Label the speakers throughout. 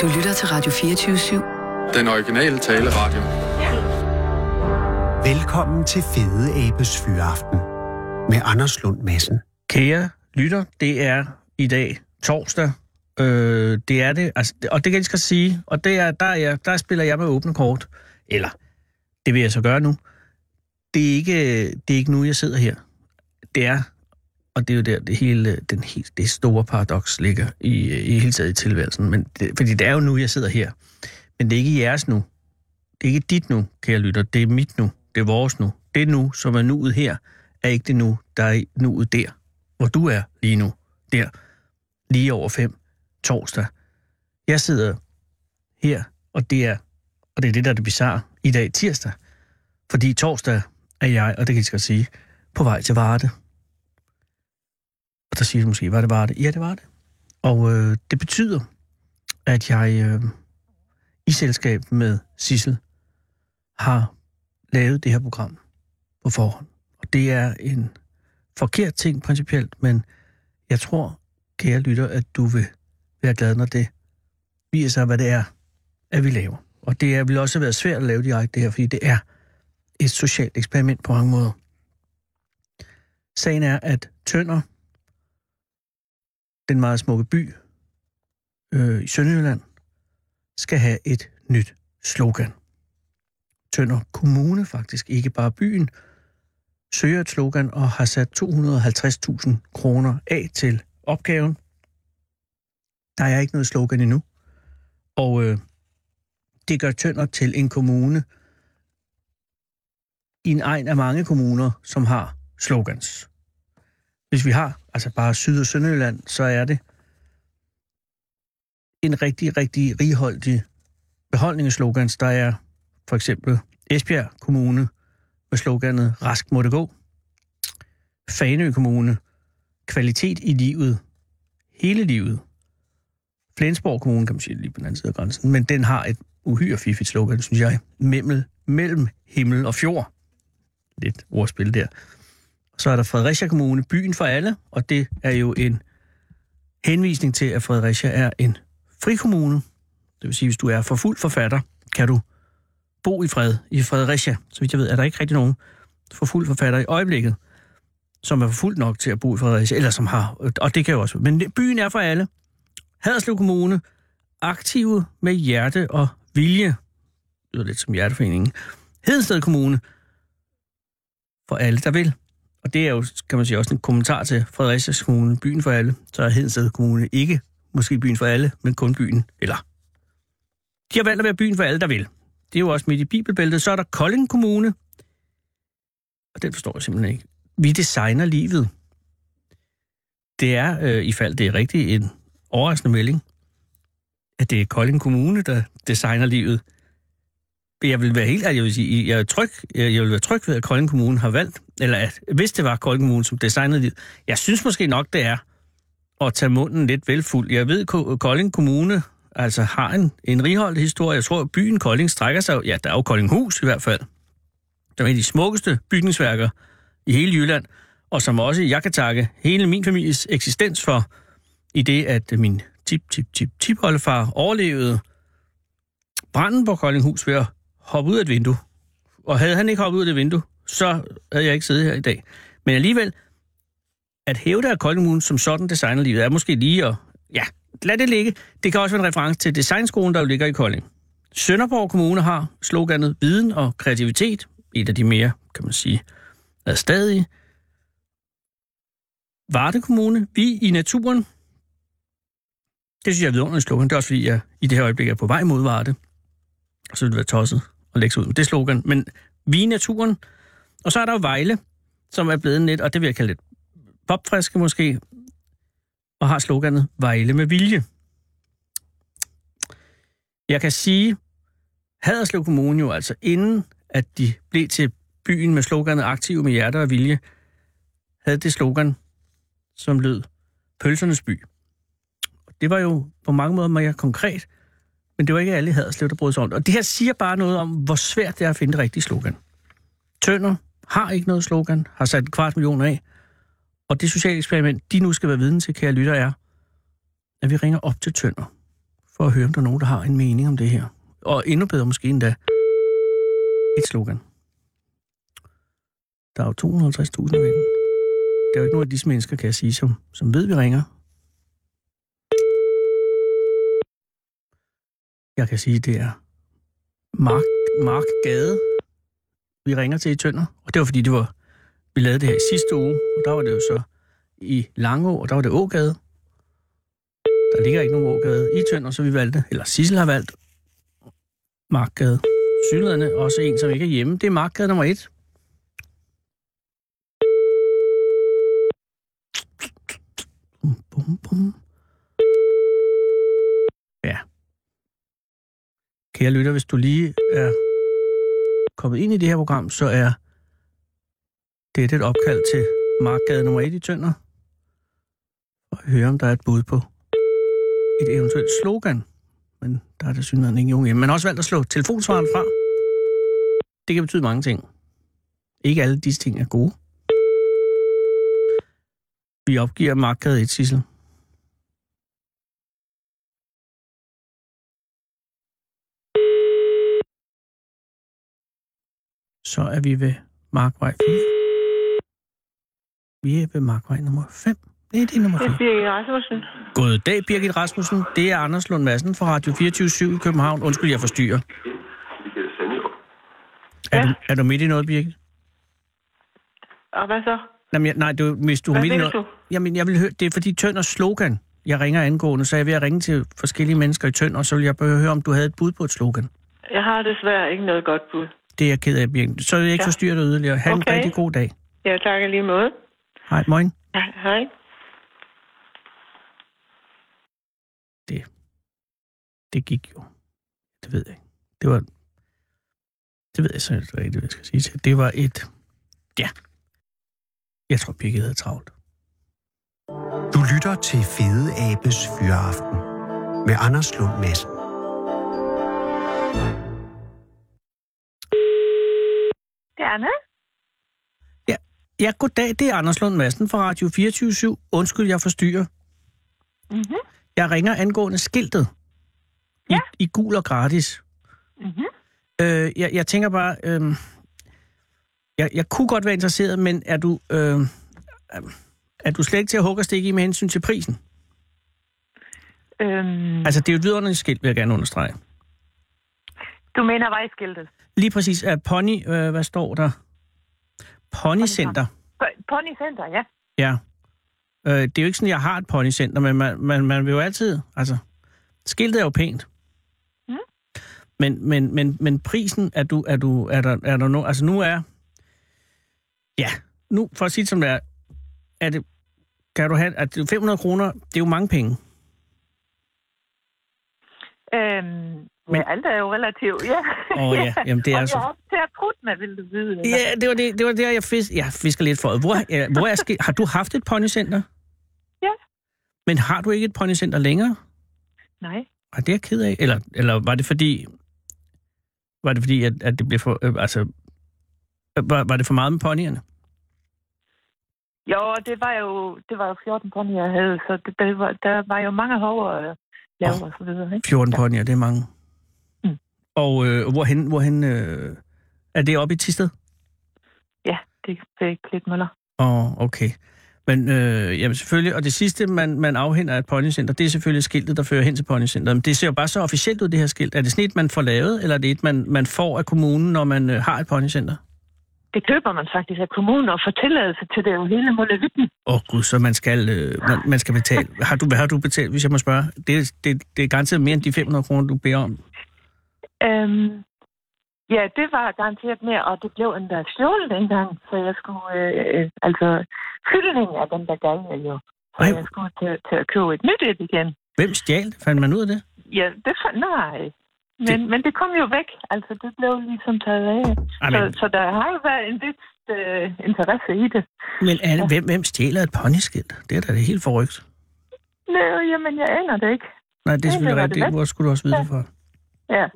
Speaker 1: Du lytter til Radio 24
Speaker 2: Den originale taleradio.
Speaker 3: Velkommen til Fede Abes Fyraften med Anders Lund Madsen.
Speaker 4: Kære lytter, det er i dag torsdag. Øh, det er det, altså, og det kan jeg skal sige, og det er, der, er jeg, der spiller jeg med åbne kort. Eller, det vil jeg så gøre nu. Det er ikke, det er ikke nu, jeg sidder her. Det er, og det er jo der, det hele, den helt, det store paradoks ligger i, i hele taget i tilværelsen. Men det, fordi det er jo nu, jeg sidder her. Men det er ikke jeres nu. Det er ikke dit nu, kære lytter. Det er mit nu. Det er vores nu. Det nu, som er nuet her, er ikke det nu, der er i nuet der hvor du er lige nu, der, lige over fem, torsdag. Jeg sidder her, og det er, og det, er det, der er det bizarre, i dag tirsdag. Fordi torsdag er jeg, og det kan jeg skal sige, på vej til Varde. Og der siger du måske, var det Varde? Ja, det var det. Og øh, det betyder, at jeg øh, i selskab med Sissel har lavet det her program på forhånd. Og det er en forkert ting principielt, men jeg tror, kære lytter, at du vil være glad, når det viser sig, hvad det er, at vi laver. Og det er, vil også have været svært at lave direkte det her, fordi det er et socialt eksperiment på mange måder. Sagen er, at Tønder, den meget smukke by øh, i Sønderjylland, skal have et nyt slogan. Tønder Kommune faktisk, ikke bare byen, søger et slogan og har sat 250.000 kroner af til opgaven. Der er ikke noget slogan endnu. Og øh, det gør Tønder til en kommune i en egen af mange kommuner, som har slogans. Hvis vi har, altså bare Syd- og Sønderjylland, så er det en rigtig, rigtig righoldig beholdning af slogans. Der er for eksempel Esbjerg Kommune, med sloganet Rask må det gå. Fanø Kommune. Kvalitet i livet. Hele livet. Flensborg Kommune, kan man sige, lige på den anden side af grænsen, men den har et uhyre fiffigt slogan, synes jeg. Mellem, mellem himmel og fjord. Lidt ordspil der. Så er der Fredericia Kommune, byen for alle, og det er jo en henvisning til, at Fredericia er en frikommune. Det vil sige, hvis du er for fuld forfatter, kan du bo i fred i Fredericia. Så vidt jeg ved, er der ikke rigtig nogen forfulgt forfatter i øjeblikket, som er forfulgt nok til at bo i Fredericia, eller som har, og det kan jo også Men byen er for alle. Haderslev Kommune, aktive med hjerte og vilje. Det lyder lidt som Hjerteforeningen. Hedensted Kommune, for alle, der vil. Og det er jo, kan man sige, også en kommentar til Fredericia Kommune, byen for alle. Så er Hedensted Kommune ikke måske byen for alle, men kun byen, eller... De har valgt at være byen for alle, der vil. Det er jo også midt i bibelbæltet. Så er der Kolding Kommune. Og den forstår jeg simpelthen ikke. Vi designer livet. Det er, øh, ifald det er rigtigt, en overraskende melding, at det er Kolding Kommune, der designer livet. Jeg vil være helt ærlig, jeg vil sige, jeg er tryg, jeg vil være tryg ved, at Kolding Kommune har valgt, eller at hvis det var Kolding Kommune, som designede livet, jeg synes måske nok, det er at tage munden lidt velfuld. Jeg ved, Ko- Kolding Kommune altså har en, en righoldt historie. Jeg tror, at byen Kolding strækker sig, jo- ja, der er jo Koldinghus i hvert fald. Det er en af de smukkeste bygningsværker i hele Jylland, og som også jeg kan takke hele min families eksistens for, i det, at min tip, tip, tip, tip oldefar overlevede branden på Koldinghus ved at hoppe ud af et vindue. Og havde han ikke hoppet ud af det vindue, så havde jeg ikke siddet her i dag. Men alligevel, at hæve det af Kolding Kommune som sådan designer livet, er måske lige at... Ja, lad det ligge. Det kan også være en reference til designskolen, der jo ligger i Kolding. Sønderborg Kommune har sloganet viden og kreativitet. Et af de mere, kan man sige, er stadig. Varde Kommune, vi i naturen. Det synes jeg er vidunderligt slogan. Det er også fordi, jeg i det her øjeblik er på vej mod Varde. Og så ville det være tosset at lægge sig ud med det slogan. Men vi i naturen. Og så er der jo Vejle, som er blevet en lidt, og det vil jeg kalde lidt popfriske måske, og har sloganet Vejle med vilje. Jeg kan sige, Haderslev Kommune jo altså inden, at de blev til byen med sloganet Aktiv med hjerte og vilje, havde det slogan, som lød Pølsernes by. Og Det var jo på mange måder mere konkret, men det var ikke alle i Haderslev, der brød sig om det. Og det her siger bare noget om, hvor svært det er at finde det rigtige slogan. Tønder har ikke noget slogan, har sat en kvart million af, og det sociale eksperiment, de nu skal være viden til, kære lytter, er, at vi ringer op til Tønder. for at høre, om der er nogen, der har en mening om det her. Og endnu bedre måske endda, et slogan. Der er jo 250.000 venner. Der er jo ikke nogen af disse mennesker, kan jeg sige, som, som ved, vi ringer. Jeg kan sige, det er Mark, Mark Gade, vi ringer til i Tønder. Og det var, fordi det var, vi lavede det her i sidste uge, og der var det jo så i Langå, og der var det Ågade. Der ligger ikke nogen Ågade i Tønder, så vi valgte, eller Sissel har valgt, Markgade. Synlædende også en, som ikke er hjemme. Det er Markgade nummer et. Bum, bum, bum. Ja. Kære lytter, hvis du lige er kommet ind i det her program, så er det et opkald til Markgade nummer 1 i Tønder. Og høre, om der er et bud på et eventuelt slogan. Men der er der synligheden ikke nogen hjemme. Man har også valgt at slå telefonsvaren fra. Det kan betyde mange ting. Ikke alle disse ting er gode. Vi opgiver Markgade 1, Sissel. Så er vi ved Markvej 4. Vi er ved Markvej nummer 5. Nej, det er nummer 5.
Speaker 5: Det er Birgit Rasmussen.
Speaker 4: Goddag, Birgit Rasmussen. Det er Anders Lund Madsen fra Radio 24 i København. Undskyld, jeg forstyrrer. Er, du, er du midt i noget, Birgit?
Speaker 5: Og hvad så?
Speaker 4: Jamen, jeg, nej, du, hvis du er
Speaker 5: Hvad
Speaker 4: midt i
Speaker 5: mener
Speaker 4: noget... Jamen, jeg vil høre, det er fordi Tønders slogan, jeg ringer angående, så er jeg ved at ringe til forskellige mennesker i Tønder, så vil jeg bare høre, om du havde et bud på et slogan.
Speaker 5: Jeg har desværre ikke noget godt bud.
Speaker 4: Det er jeg ked af, Birgit. Så vil jeg ikke
Speaker 5: Ja.
Speaker 4: forstyrre dig yderligere. Ha' en
Speaker 5: Okay.
Speaker 4: rigtig god dag.
Speaker 5: Jeg takker lige måde.
Speaker 4: Hej, morgen.
Speaker 5: Ja, Hej.
Speaker 4: det, det gik jo. Det ved jeg ikke. Det var, det ved jeg så ikke rigtigt, hvad jeg skal sige til. Det var et, ja, jeg tror, Birgit havde travlt.
Speaker 3: Du lytter til Fede Abes Fyraften med Anders Lund Madsen.
Speaker 6: Det er Anna.
Speaker 4: Ja, goddag, det er Anders Lund Madsen fra Radio 24 Undskyld, jeg forstyrrer.
Speaker 6: Mhm.
Speaker 4: Jeg ringer angående skiltet.
Speaker 6: Ja.
Speaker 4: I, I gul og gratis.
Speaker 6: Mhm.
Speaker 4: Øh, jeg, jeg tænker bare, øh, jeg, jeg kunne godt være interesseret, men er du, øh, er du slet ikke til at hugge og stikke i med hensyn til prisen?
Speaker 6: Øhm,
Speaker 4: Altså, det er jo et vidunderligt skilt, vil jeg gerne understrege.
Speaker 6: du mener vejskiltet?
Speaker 4: Lige præcis er Pony, øh, hvad står der? Ponycenter.
Speaker 6: P- Ponycenter, ja.
Speaker 4: Ja. Øh, det er jo ikke sådan, jeg har et ponycenter, men man, man, man vil jo altid... Altså, skiltet er jo pænt.
Speaker 6: Mm.
Speaker 4: Men, men, men, men prisen, er du, er du, er der, er der no, altså nu er, ja, nu, for at sige det som det er, er det, kan du have, at 500 kroner, det er jo mange penge.
Speaker 6: Øhm, men alt er jo relativt, ja.
Speaker 4: Åh ja, jamen det er altså-
Speaker 6: Om
Speaker 4: så-
Speaker 6: jeg er til at prutte med, vil du vide. eller?
Speaker 4: Ja, det var, det, det var der, jeg, fisk, jeg fisker lidt for. Hvor, ja, hvor er ske, har du haft et ponycenter?
Speaker 6: Ja.
Speaker 4: Men har du ikke et ponycenter længere?
Speaker 6: Nej.
Speaker 4: Var det er jeg ked af? Eller, eller var det fordi, var det fordi, at, at det blev for, øh, altså, øh, var, var det for meget med ponyerne?
Speaker 6: Jo, det var jo, det var jo 14 ponyer, jeg havde, så det, der, var, der var jo mange hår at lave
Speaker 4: Åh.
Speaker 6: og så videre, ikke?
Speaker 4: 14 ponyer, det er mange.
Speaker 6: Mm.
Speaker 4: Og øh, hvorhen, hvorhen øh, er det oppe i Tisted?
Speaker 6: Ja, det er Klitmøller.
Speaker 4: Åh, oh, okay. Men øh, jamen selvfølgelig, og det sidste, man, man afhænder af et ponycenter, det er selvfølgelig skiltet, der fører hen til ponycenteret. Men det ser jo bare så officielt ud, det her skilt. Er det sådan et, man får lavet, eller er det et, man, man får af kommunen, når man øh, har et ponycenter?
Speaker 6: Det køber man faktisk af kommunen og får tilladelse til det jo hele muligheden.
Speaker 4: Åh oh, gud, så man skal, øh, man, man skal betale. Har du, hvad har du betalt, hvis jeg må spørge? Det, det, det er garanteret mere end de 500 kroner, du beder om.
Speaker 6: Øhm, ja, det var garanteret mere, og det blev endda fjollet engang, så jeg skulle, øh, øh, altså, fyldningen af den der galge jo. Så
Speaker 4: Ej.
Speaker 6: jeg skulle til, til at købe et nyt et igen.
Speaker 4: Hvem stjal det? Fandt man ud af det?
Speaker 6: Ja, det for, nej. Men det... men det kom jo væk, altså det blev ligesom taget af.
Speaker 4: Ej,
Speaker 6: Så,
Speaker 4: men,
Speaker 6: så der har jo været en vis øh, interesse i det.
Speaker 4: men Anne, hvem, hvem stjæler et ponyskilt? Det er da det helt forrygt.
Speaker 6: Nej, jamen jeg aner det ikke.
Speaker 4: Nej, det er
Speaker 6: Ja,
Speaker 4: selvfølgelig
Speaker 6: det var
Speaker 4: rigtigt.
Speaker 6: det.
Speaker 4: Hvor skulle du også vide det fra?
Speaker 6: Ja.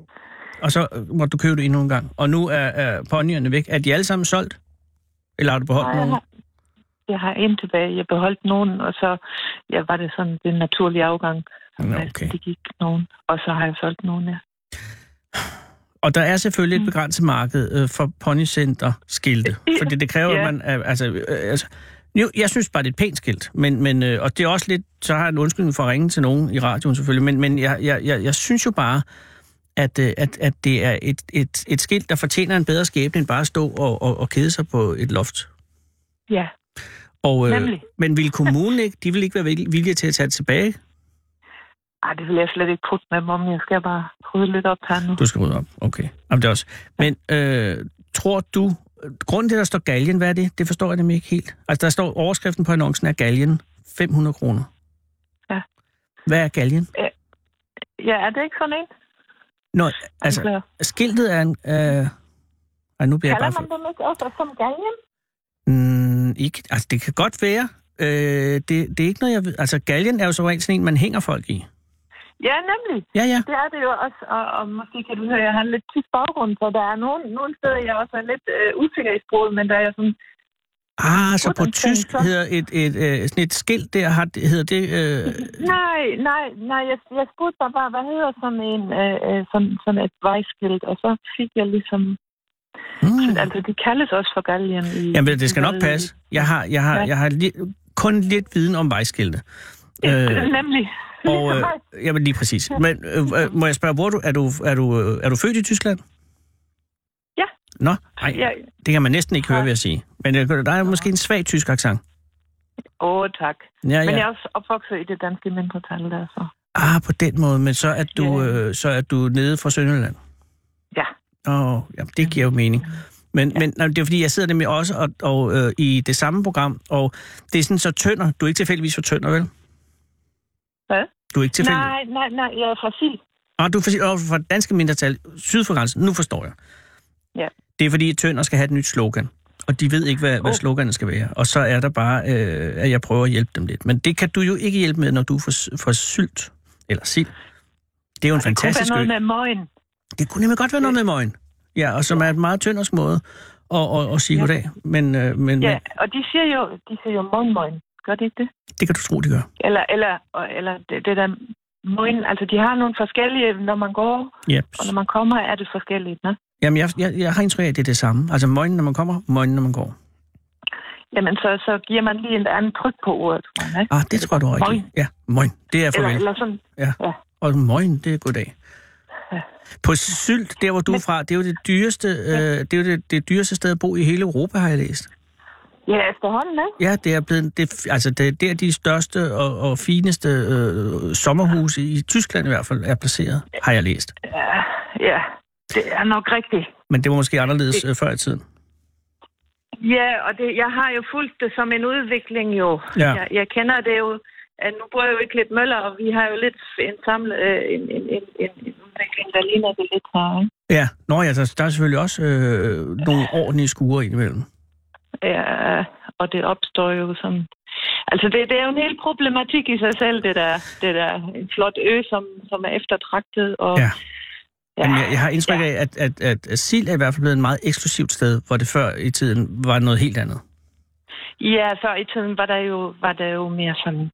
Speaker 4: Og så øh, måtte du købe det endnu en gang. Og nu er, er ponyerne væk. Er de alle sammen solgt? Eller har du beholdt
Speaker 6: jeg
Speaker 4: nogen?
Speaker 6: har, Jeg har en tilbage. Jeg beholdt nogen, og så ja, var det sådan den naturlige afgang.
Speaker 4: Nå,
Speaker 6: at
Speaker 4: okay.
Speaker 6: Det gik nogen, og så har jeg solgt nogen, ja.
Speaker 4: Og der er selvfølgelig et
Speaker 6: Mm.
Speaker 4: begrænset marked øh, for ponycenter-skilte,
Speaker 6: Ja,
Speaker 4: fordi det kræver,
Speaker 6: ja.
Speaker 4: at man... er- Altså, øh, altså, jo, jeg synes bare, det er et pænt skilt, men, men, øh, og det er også lidt... Så har jeg en undskyldning for at ringe til nogen i radioen selvfølgelig, men, men jeg, jeg, jeg, jeg synes jo bare, at, øh, at, at det er et, et, et skilt, der fortjener en bedre skæbne end bare at stå og, og, og kede sig på et loft.
Speaker 6: Ja,
Speaker 4: Og, øh,
Speaker 6: Nemlig.
Speaker 4: men vil kommunen ikke... De vil ikke være vil- villige til at tage det tilbage.
Speaker 6: Ej, det vil jeg slet ikke putte med, mom. Jeg skal bare rydde lidt op her nu.
Speaker 4: Du skal rydde op. Okay. Jamen, det er også. Men øh, tror du... Grunden til, at der står galgen, hvad er det? Det forstår jeg nemlig ikke helt. Altså, der står overskriften på annoncen er galgen. 500 kroner.
Speaker 6: Ja.
Speaker 4: Hvad er galgen?
Speaker 6: Ja, er det ikke sådan en?
Speaker 4: Nå, altså,
Speaker 6: Eller
Speaker 4: skiltet er en... Øh, ej, nu bliver jeg
Speaker 6: Kalder
Speaker 4: bare...
Speaker 6: man dem ikke også som galgen?
Speaker 4: Mm, ikke, altså, det kan godt være. Øh, det, det er ikke noget, jeg ved. Altså, galgen er jo så rent sådan en, man hænger folk i.
Speaker 6: Ja, nemlig.
Speaker 4: Ja, ja.
Speaker 6: Det er det jo også, og, og måske kan du høre, at jeg har en lidt tysk baggrund, så der er nogle, nogle steder, jeg også er lidt øh, usikker i sproget, men der er sådan,
Speaker 4: Ah, så på
Speaker 6: Hvordan skal
Speaker 4: tysk
Speaker 6: den så?
Speaker 4: hedder et, et, et, sådan et skilt der, har, hedder det... Øh,
Speaker 6: nej, nej, nej, jeg, jeg spurgte bare, hvad, hvad hedder sådan en, øh, øh, sådan, sådan et vejskilt, og så fik jeg ligesom,
Speaker 4: mm.
Speaker 6: altså de kaldes også for galgen i...
Speaker 4: Jamen, det skal
Speaker 6: i-
Speaker 4: nok passe. Jeg har, jeg har,
Speaker 6: Ja.
Speaker 4: jeg har li- kun lidt viden om vejskilte.
Speaker 6: Øh, nemlig.
Speaker 4: og,
Speaker 6: Ligesom mig.
Speaker 4: øh, jamen, lige præcis. Men øh, øh, må jeg spørge, hvor er du, er du, er du, øh, er du født i Tyskland?
Speaker 6: Ja.
Speaker 4: Nå, nej,
Speaker 6: Ja.
Speaker 4: det kan man næsten ikke høre,
Speaker 6: Nej.
Speaker 4: vil jeg sige. Men øh, der er måske en svag tysk accent.
Speaker 6: Åh, oh, tak.
Speaker 4: Ja,
Speaker 6: Men jeg
Speaker 4: ja.
Speaker 6: er også opvokset i det danske mindretal, der så.
Speaker 4: Ah, på den måde, men så er du,
Speaker 6: Ja.
Speaker 4: øh, så er du nede fra Sønderland.
Speaker 6: Ja.
Speaker 4: Åh, oh, jamen, det giver jo mening. Men, ja. men nej, det er fordi, jeg sidder nemlig også og, og, øh, i det samme program, og det er sådan så tønder. Du er ikke tilfældigvis for tønder, vel?
Speaker 6: Hvad?
Speaker 4: Du er ikke tilfældig?
Speaker 6: Nej, nej, nej, jeg er fra Sild.
Speaker 4: Og Ah, du er for, og for danske mindretal, syd for grænsen, nu forstår jeg.
Speaker 6: Ja.
Speaker 4: Det er fordi, Tønder skal have et nyt slogan, og de ved ikke, hvad, oh. hvad
Speaker 6: Oh.
Speaker 4: sloganet skal være. Og så er der bare, øh, at jeg prøver at hjælpe dem lidt. Men det kan du jo ikke hjælpe med, når du er for, for sylt, eller sild. Det er jo en
Speaker 6: Fantastisk.
Speaker 4: fantastisk
Speaker 6: Det kunne være
Speaker 4: ø.
Speaker 6: noget med møgen.
Speaker 4: Det kunne nemlig godt være noget med møgen. Ja, og som er en meget tøndersk måde at, at, at sige
Speaker 6: Ja.
Speaker 4: goddag. Men, øh, men,
Speaker 6: Ja,
Speaker 4: men
Speaker 6: og de siger jo, de siger jo møgen, møgen. Gør de ikke det?
Speaker 4: det kan du tro, de gør.
Speaker 6: Eller, eller, og- eller det, det der møgen, altså de har nogle forskellige, når man går,
Speaker 4: Yep.
Speaker 6: og når man kommer, er det forskelligt, ne?
Speaker 4: Jamen, jeg, jeg, jeg har indtryk af, at det er det samme. Altså, møgen, når man kommer, møgen, når man går.
Speaker 6: Jamen, så, så giver man lige en anden tryk på ordet, tror jeg, ikke?
Speaker 4: Ah, det tror jeg, du har rigtigt.
Speaker 6: Møgen.
Speaker 4: Ja, møgen. Det er
Speaker 6: Eller,
Speaker 4: farvel.
Speaker 6: eller sådan,
Speaker 4: Og morgen, det er goddag. På Sylt, der hvor du er fra, det er jo det dyreste, øh, det er jo det, det dyreste sted at bo i hele Europa, har jeg læst.
Speaker 6: ja, efterhånden, ikke?
Speaker 4: Ja, det er blevet, det, altså det, er der de største og, og fineste øh, sommerhuse i Tyskland i hvert fald er placeret, har jeg læst.
Speaker 6: Ja, ja, det er nok rigtigt.
Speaker 4: Men det var måske anderledes øh, før i tiden.
Speaker 6: Ja, og det, jeg har jo fulgt det som en udvikling jo.
Speaker 4: Ja.
Speaker 6: Jeg, jeg kender det jo, at nu bruger jeg jo ikke lidt møller, og vi har jo lidt en samlet øh, en, en, en, en, en udvikling, der ligner det lidt her. Ikke?
Speaker 4: Ja, nå ja, der, der er selvfølgelig også øh, nogle ordentlige skure indimellem.
Speaker 6: Ja, og det opstår jo som... Altså, det, det er jo en hel problematik i sig selv, det der, det der en flot ø, som, som er eftertragtet. Og,
Speaker 4: Ja.
Speaker 6: ja.
Speaker 4: Jamen, jeg, jeg har indtryk af, at, at, at, at Sild er i hvert fald blevet et meget eksklusivt sted, hvor det før i tiden var noget helt andet.
Speaker 6: Ja, før i tiden var der jo, var der jo mere sådan...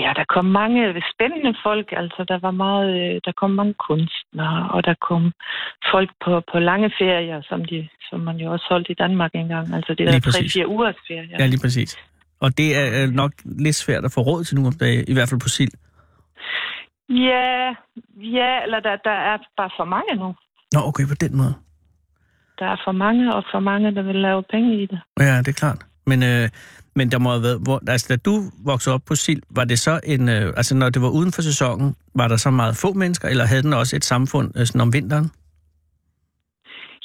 Speaker 6: Ja, der kom mange spændende folk. Altså, der var meget, øh, der kom mange kunstnere, og der kom folk på, på lange ferier, som, de, som man jo også holdt i Danmark engang. Altså, det
Speaker 4: Lige
Speaker 6: der
Speaker 4: præcis.
Speaker 6: 3-4 ugers ferie.
Speaker 4: Ja, lige præcis. Og det er øh, nok lidt svært at få råd til nu om dagen, i hvert fald på sild.
Speaker 6: ja, ja, eller der, der er bare for mange nu.
Speaker 4: Nå, okay, på den måde.
Speaker 6: Der er for mange, og for mange, der vil lave penge i det.
Speaker 4: Ja, det er klart. Men, øh, men der må have været, hvor, altså, da du voksede op på sild, var det så en, øh, altså når det var uden for sæsonen, var der så meget få mennesker, eller havde den også et samfund øh, sådan om vinteren?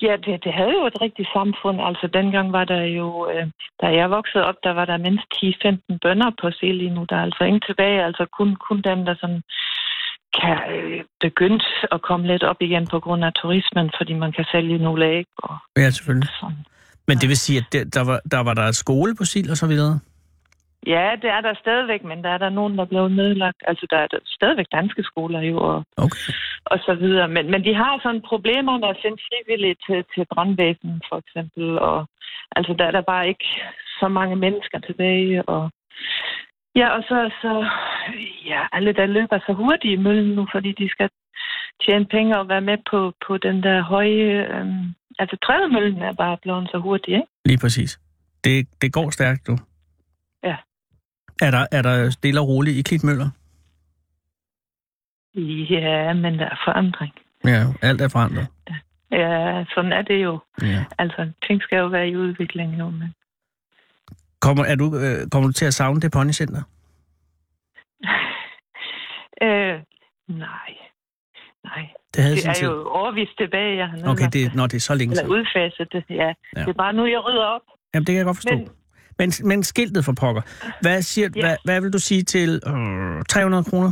Speaker 6: Ja, det, det havde jo et rigtigt samfund. Altså, dengang var der jo, øh, da jeg voksede op, der var der mindst 10-15 bønder på Sel lige nu. Der er altså ingen tilbage, altså kun, kun dem, der sådan kan øh, begyndt at komme lidt op igen på grund af turismen, fordi man kan sælge nogle æg og
Speaker 4: Ja, selvfølgelig.
Speaker 6: sådan.
Speaker 4: Men det vil sige, at der, der, var, der var der skole på sild og så videre?
Speaker 6: Ja, det er der stadigvæk, men der er der nogen, der blev nedlagt. Altså, der er der stadigvæk danske skoler jo, og
Speaker 4: Okay.
Speaker 6: og så videre. Men, men de har sådan problemer med at finde frivillige til, til brandvæsen, for eksempel. Og, altså, der er der bare ikke så så mange mennesker tilbage, og ja, og så, så ja, alle, der løber så hurtigt i møllen nu, fordi de skal tjene penge og være med på, på den der høje... Øhm, altså trædemøllen er bare blevet så hurtig, ikke?
Speaker 4: Lige præcis. Det, det går stærkt nu.
Speaker 6: Ja.
Speaker 4: Er der, er der stille og roligt i Klitmøller?
Speaker 6: Ja, men der er forandring.
Speaker 4: Ja, alt er forandret.
Speaker 6: Ja, sådan er det jo.
Speaker 4: Ja.
Speaker 6: Altså, ting skal jo være i udvikling jo, men...
Speaker 4: Kommer, er du, øh, kommer du til at savne det ponycenter?
Speaker 6: Øh, nej. Nej.
Speaker 4: Det havde
Speaker 6: Det
Speaker 4: sin
Speaker 6: er
Speaker 4: tid.
Speaker 6: jo overvist tilbage, jeg har
Speaker 4: Okay,
Speaker 6: nedlagt
Speaker 4: det, når det er så længe
Speaker 6: Eller
Speaker 4: siden.
Speaker 6: udfaset det, ja.
Speaker 4: Ja.
Speaker 6: ja. Det er bare nu, jeg rydder op.
Speaker 4: Jamen, det kan jeg godt forstå. Men,
Speaker 6: Men-
Speaker 4: men, men skiltet for pokker. Hvad, siger, ja.
Speaker 6: Ja.
Speaker 4: hvad, hvad vil du sige til øh, 300 kroner?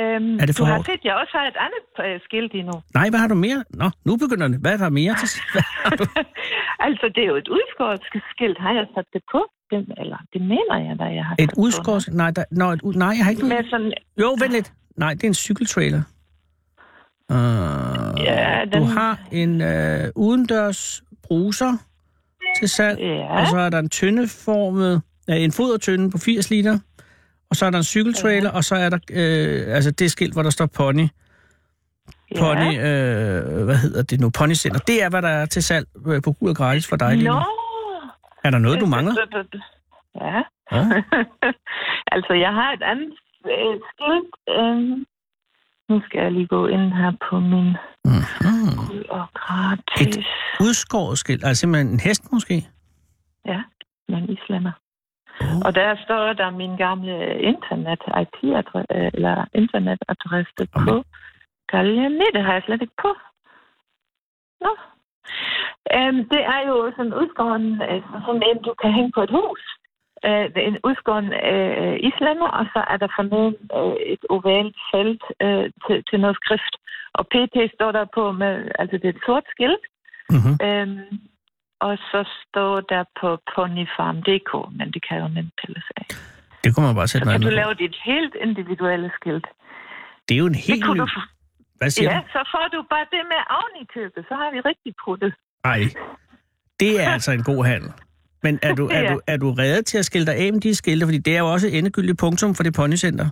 Speaker 6: Øhm,
Speaker 4: Er det for
Speaker 6: du har
Speaker 4: hårdt?
Speaker 6: set, jeg også har et andet øh, skilt endnu.
Speaker 4: Nej, hvad har du mere? Nå, nu begynder det. Hvad er der mere til? Hvad har du?
Speaker 6: Altså, det er jo et udskåret skilt. Har jeg sat det på? Det, eller det mener jeg, da jeg har
Speaker 4: Et
Speaker 6: sat på.
Speaker 4: udskårs... Nej, der, nå, et, ud- nej, jeg har ikke...
Speaker 6: Med sådan,
Speaker 4: Jo, vent lidt. Nej, det er en cykeltrailer. Uh,
Speaker 6: Ja,
Speaker 4: Du
Speaker 6: den-
Speaker 4: har en øh, udendørs bruser til salg,
Speaker 6: Ja.
Speaker 4: og så er der en tyndeformet, øh, en fodertynde på 80 liter, og så er der en cykeltrailer, ja. og så er der øh, altså det skilt, hvor der står pony.
Speaker 6: ja.
Speaker 4: Pony, øh, hvad hedder det nu? Ponycenter. Det er, hvad der er til salg øh, på Gud og Gratis for dig lige nu.
Speaker 6: Nå.
Speaker 4: Er der noget, du mangler?
Speaker 6: Ja.
Speaker 4: Ja.
Speaker 6: altså, jeg har et andet øh, skilt. Øhm, nu skal jeg lige gå ind her på min
Speaker 4: Mm-hmm.
Speaker 6: Gud og gratis.
Speaker 4: Et- Ah, Udskåret skilt, altså simpelthen en hest måske?
Speaker 6: Ja, med en islænder.
Speaker 4: Oh.
Speaker 6: Og der står der min gamle internet IP eller internetadresse på Gallia. Nej, det har jeg slet ikke på. Nå. Øhm, det er jo sådan en udskåren, øh, sådan en, du kan hænge på et hus. Øh, det er en udskåren øh, islænder, og så er der forneden øh, et ovalt felt øh, til, til noget skrift. Og PT står der på med, altså det er et sort skilt,
Speaker 4: Mm-hmm.
Speaker 6: Øhm, og så står der på ponyfarm.dk, men det kan jo nemt pilles af.
Speaker 4: Det kunne man bare sætte
Speaker 6: Så kan
Speaker 4: noget
Speaker 6: du
Speaker 4: andet på.
Speaker 6: lave dit helt individuelle skilt.
Speaker 4: Det er jo en helt
Speaker 6: det kunne
Speaker 4: ny...
Speaker 6: du få.
Speaker 4: Hvad siger
Speaker 6: Ja,
Speaker 4: du?
Speaker 6: så får du bare det med oven i købet, så har vi rigtig puttet.
Speaker 4: Ej, det er altså en god handel. Men er du, er,
Speaker 6: Ja.
Speaker 4: du, er du reddet til at skille dig af med de skilte? Fordi det er jo også et endegyldigt punktum for det ponycenter.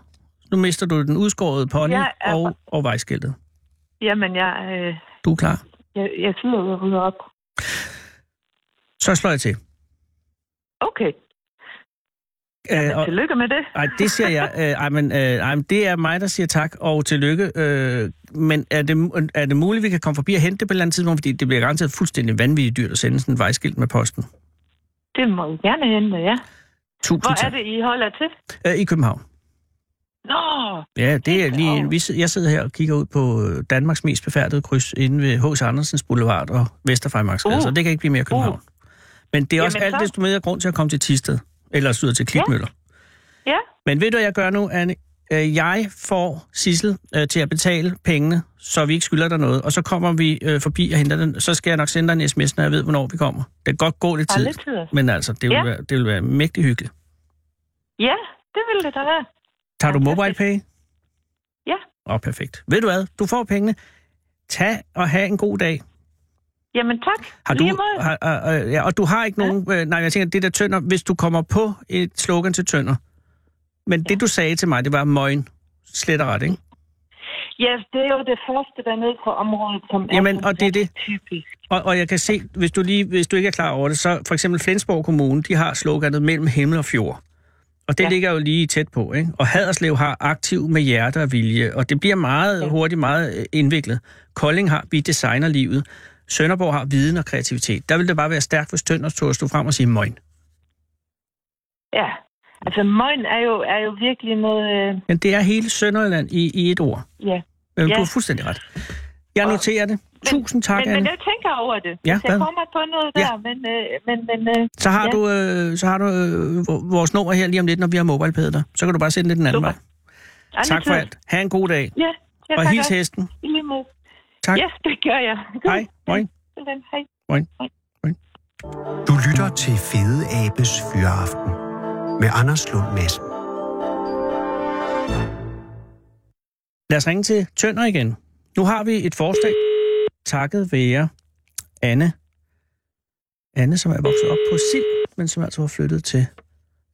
Speaker 4: Nu mister du den udskårede pony
Speaker 6: Jeg er-
Speaker 4: og, og vejskiltet.
Speaker 6: Jamen, jeg, øh,
Speaker 4: Du er klar.
Speaker 6: jeg, jeg siger jo, jeg rydder op.
Speaker 4: Så slår jeg til.
Speaker 6: Okay,
Speaker 4: Øh, og,
Speaker 6: tillykke med det.
Speaker 4: ej, det siger jeg. Øh, ej, men, øh, ej, men det er mig, der siger tak og tillykke. Øh, men er det, mu- er det muligt, at vi kan komme forbi og hente det på et eller andet tidspunkt? Fordi det bliver garanteret fuldstændig vanvittigt dyrt at sende sådan en vejskilt med posten.
Speaker 6: Det må I gerne hente, ja.
Speaker 4: Tusind
Speaker 6: Hvor er
Speaker 4: tak.
Speaker 6: det, I holder til?
Speaker 4: Øh, I København.
Speaker 6: Nå,
Speaker 4: Ja, det er
Speaker 6: Helt
Speaker 4: lige en,
Speaker 6: derovre.
Speaker 4: vi, sid- jeg sidder her og kigger ud på øh, Danmarks mest befærdede kryds inde ved H.C. Andersens Boulevard og Vesterfejmarksgade, uh.
Speaker 6: Uh.
Speaker 4: så det kan ikke blive mere København. Uh. Men det er også
Speaker 6: Jamen,
Speaker 4: alt
Speaker 6: så-
Speaker 4: desto mere grund til at komme til Tisted, eller syd til Klitmøller.
Speaker 6: ja.
Speaker 4: Men ved du, hvad jeg gør nu, Anne? Øh, Jeg får Sissel øh, til at betale pengene, så vi ikke skylder dig noget, og så kommer vi øh, forbi og henter den. Så skal jeg nok sende dig en sms, når jeg ved, hvornår vi kommer. Det kan godt gå lidt
Speaker 6: Bare
Speaker 4: tid,
Speaker 6: lidt tid.
Speaker 4: men altså, det vil,
Speaker 6: Ja.
Speaker 4: være, det vil være mægtig hyggeligt.
Speaker 6: Ja, det ville det da være.
Speaker 4: Tager du
Speaker 6: Fantastisk.
Speaker 4: mobile pay?
Speaker 6: Ja.
Speaker 4: Åh, oh, perfekt. Ved du hvad? Du får pengene. Tag og have en god dag.
Speaker 6: Jamen tak.
Speaker 4: Har
Speaker 6: Lige
Speaker 4: du,
Speaker 6: måde.
Speaker 4: har, øh, øh, ja, og du har ikke
Speaker 6: Ja.
Speaker 4: nogen... Øh, nej, jeg tænker, det der tønder, hvis du kommer på et slogan til tønder. Men ja. det, du sagde til mig, det var møgen. Slet og ret, ikke?
Speaker 6: Ja, det er jo det første dernede på området, som
Speaker 4: Jamen,
Speaker 6: er
Speaker 4: og det er det.
Speaker 6: typisk.
Speaker 4: Og, og jeg kan se, hvis du, lige, hvis du ikke er klar over det, så for eksempel Flensborg Kommune, de har sloganet mellem himmel og fjord. Og det ja.
Speaker 6: Ja.
Speaker 4: ligger jo lige tæt på, ikke? Og Haderslev har aktiv med hjerte og vilje, og det bliver meget ja. hurtigt meget øh, indviklet. Kolding har, vi designer livet. Sønderborg har viden og kreativitet. Der vil det bare være stærkt, hvis Tønders tog at stå frem og sige møgn.
Speaker 6: Ja, altså møgn er jo, er jo virkelig noget... Øh,
Speaker 4: Men det er hele Sønderjylland i, i et ord.
Speaker 6: ja.
Speaker 4: Men
Speaker 6: Ja.
Speaker 4: Du har fuldstændig ret. Jeg noterer det. Tusind tak,
Speaker 6: men, men
Speaker 4: Anne.
Speaker 6: jeg tænker over det.
Speaker 4: Ja,
Speaker 6: Hvis jeg
Speaker 4: hvad?
Speaker 6: kommer på noget
Speaker 4: Ja.
Speaker 6: der, men... Øh, men, men øh,
Speaker 4: Så har
Speaker 6: Ja.
Speaker 4: du, øh, så har du øh, vo- vores nummer her lige om lidt, når vi har mobile dig. Så kan du bare sende det den anden
Speaker 6: Super.
Speaker 4: vej. Tak for
Speaker 6: altid.
Speaker 4: alt. Ha' en god dag.
Speaker 6: Ja, ja
Speaker 4: Og
Speaker 6: tak
Speaker 4: hils
Speaker 6: også.
Speaker 4: hesten.
Speaker 6: I lige måde.
Speaker 4: Tak.
Speaker 6: Yes, det gør jeg.
Speaker 4: Hej. Moin.
Speaker 6: Sådan, Hej.
Speaker 3: Du lytter til Fede Abes Fyraften med Anders Lund Madsen.
Speaker 4: Lad os ringe til Tønder igen. Nu har vi et forslag, takket være Anne Anne, som er vokset op på Sild, men som altså var flyttet til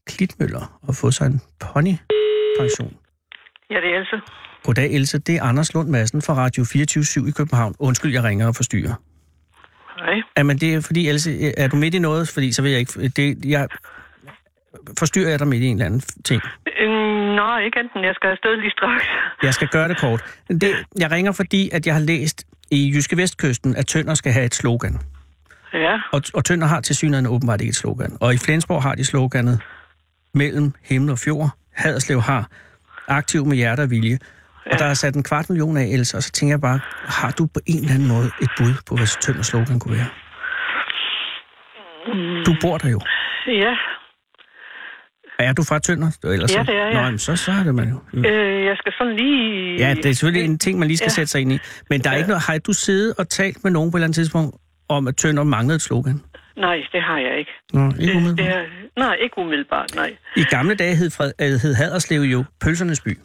Speaker 4: Klitmøller og fået sig en ponypension.
Speaker 5: Ja, det er altså- Else.
Speaker 4: Goddag, Else. Det er Anders Lund Madsen fra Radio 24 i København. Undskyld, jeg ringer og forstyrrer.
Speaker 5: Hej.
Speaker 4: Jamen, det er fordi, Else, er du midt i noget? Fordi så vil jeg ikke... Det, jeg, forstyrrer jeg dig midt i en eller anden ting?
Speaker 5: Øhm, nå, ikke enten. Jeg skal afsted lige straks.
Speaker 4: Jeg skal gøre det kort. Det, jeg ringer, fordi at jeg har læst i Jyske Vestkysten, at Tønder skal have et slogan.
Speaker 5: Ja,
Speaker 4: Og, og Tønder har til synligheden åbenbart ikke et slogan. Og i Flensborg har de sloganet mellem himmel og fjord. Haderslev har aktiv med hjerte og vilje. Og der er sat en kvart million af, Else, og så tænker jeg bare, har du på en eller anden måde et bud på, hvad Tønders slogan kunne være? Du bor der jo.
Speaker 5: ja.
Speaker 4: Er du fra Tønder? Ellers
Speaker 5: Ja,
Speaker 4: så-
Speaker 5: det er jeg.
Speaker 4: Nå, jamen, så, så er det man jo.
Speaker 5: Øh, jeg skal sådan lige...
Speaker 4: Ja, det er selvfølgelig en ting, man lige skal ja.
Speaker 5: Øh, Ja.
Speaker 4: sætte sig ind i. Men der er ikke noget... Har du siddet og talt med nogen på et eller andet tidspunkt om, at Tønder manglede et slogan?
Speaker 5: Nej, det har jeg ikke.
Speaker 4: Nå, ikke
Speaker 5: Det,
Speaker 4: umiddelbart.
Speaker 5: det er... Nej, ikke umiddelbart, nej.
Speaker 4: I gamle dage hed, Fred, øh, hed Haderslev jo Pølsernes by.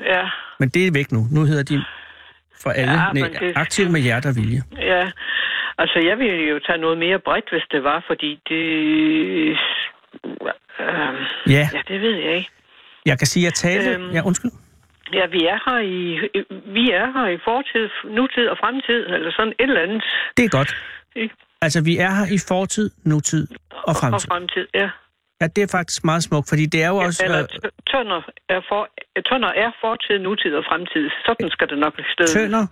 Speaker 5: Ja,
Speaker 4: Men det er væk nu. Nu hedder de for alle ja,
Speaker 5: Ja, men
Speaker 4: det...
Speaker 5: det-
Speaker 4: aktive med hjerte og vilje.
Speaker 5: ja. Altså, jeg ville jo tage noget mere bredt, hvis det var, fordi det... Øhm,
Speaker 4: Ja,
Speaker 5: ja, det ved jeg ikke.
Speaker 4: jeg kan sige, at jeg talte... Øhm...
Speaker 5: Øhm.
Speaker 4: Ja, undskyld.
Speaker 5: Ja, vi er her i, vi er her i fortid, nutid og fremtid, eller sådan et eller andet.
Speaker 4: Det er godt.
Speaker 5: Ikke?
Speaker 4: Altså, vi er her i fortid, nutid og
Speaker 5: Og
Speaker 4: fremtid.
Speaker 5: fremtid, ja.
Speaker 4: Ja, det er faktisk meget smukt, fordi det er jo også...
Speaker 5: Eller
Speaker 4: øh,
Speaker 5: tø- tønder er, for, tønder er fortid, nutid og fremtid. Sådan skal det nok stå.
Speaker 4: Tønder?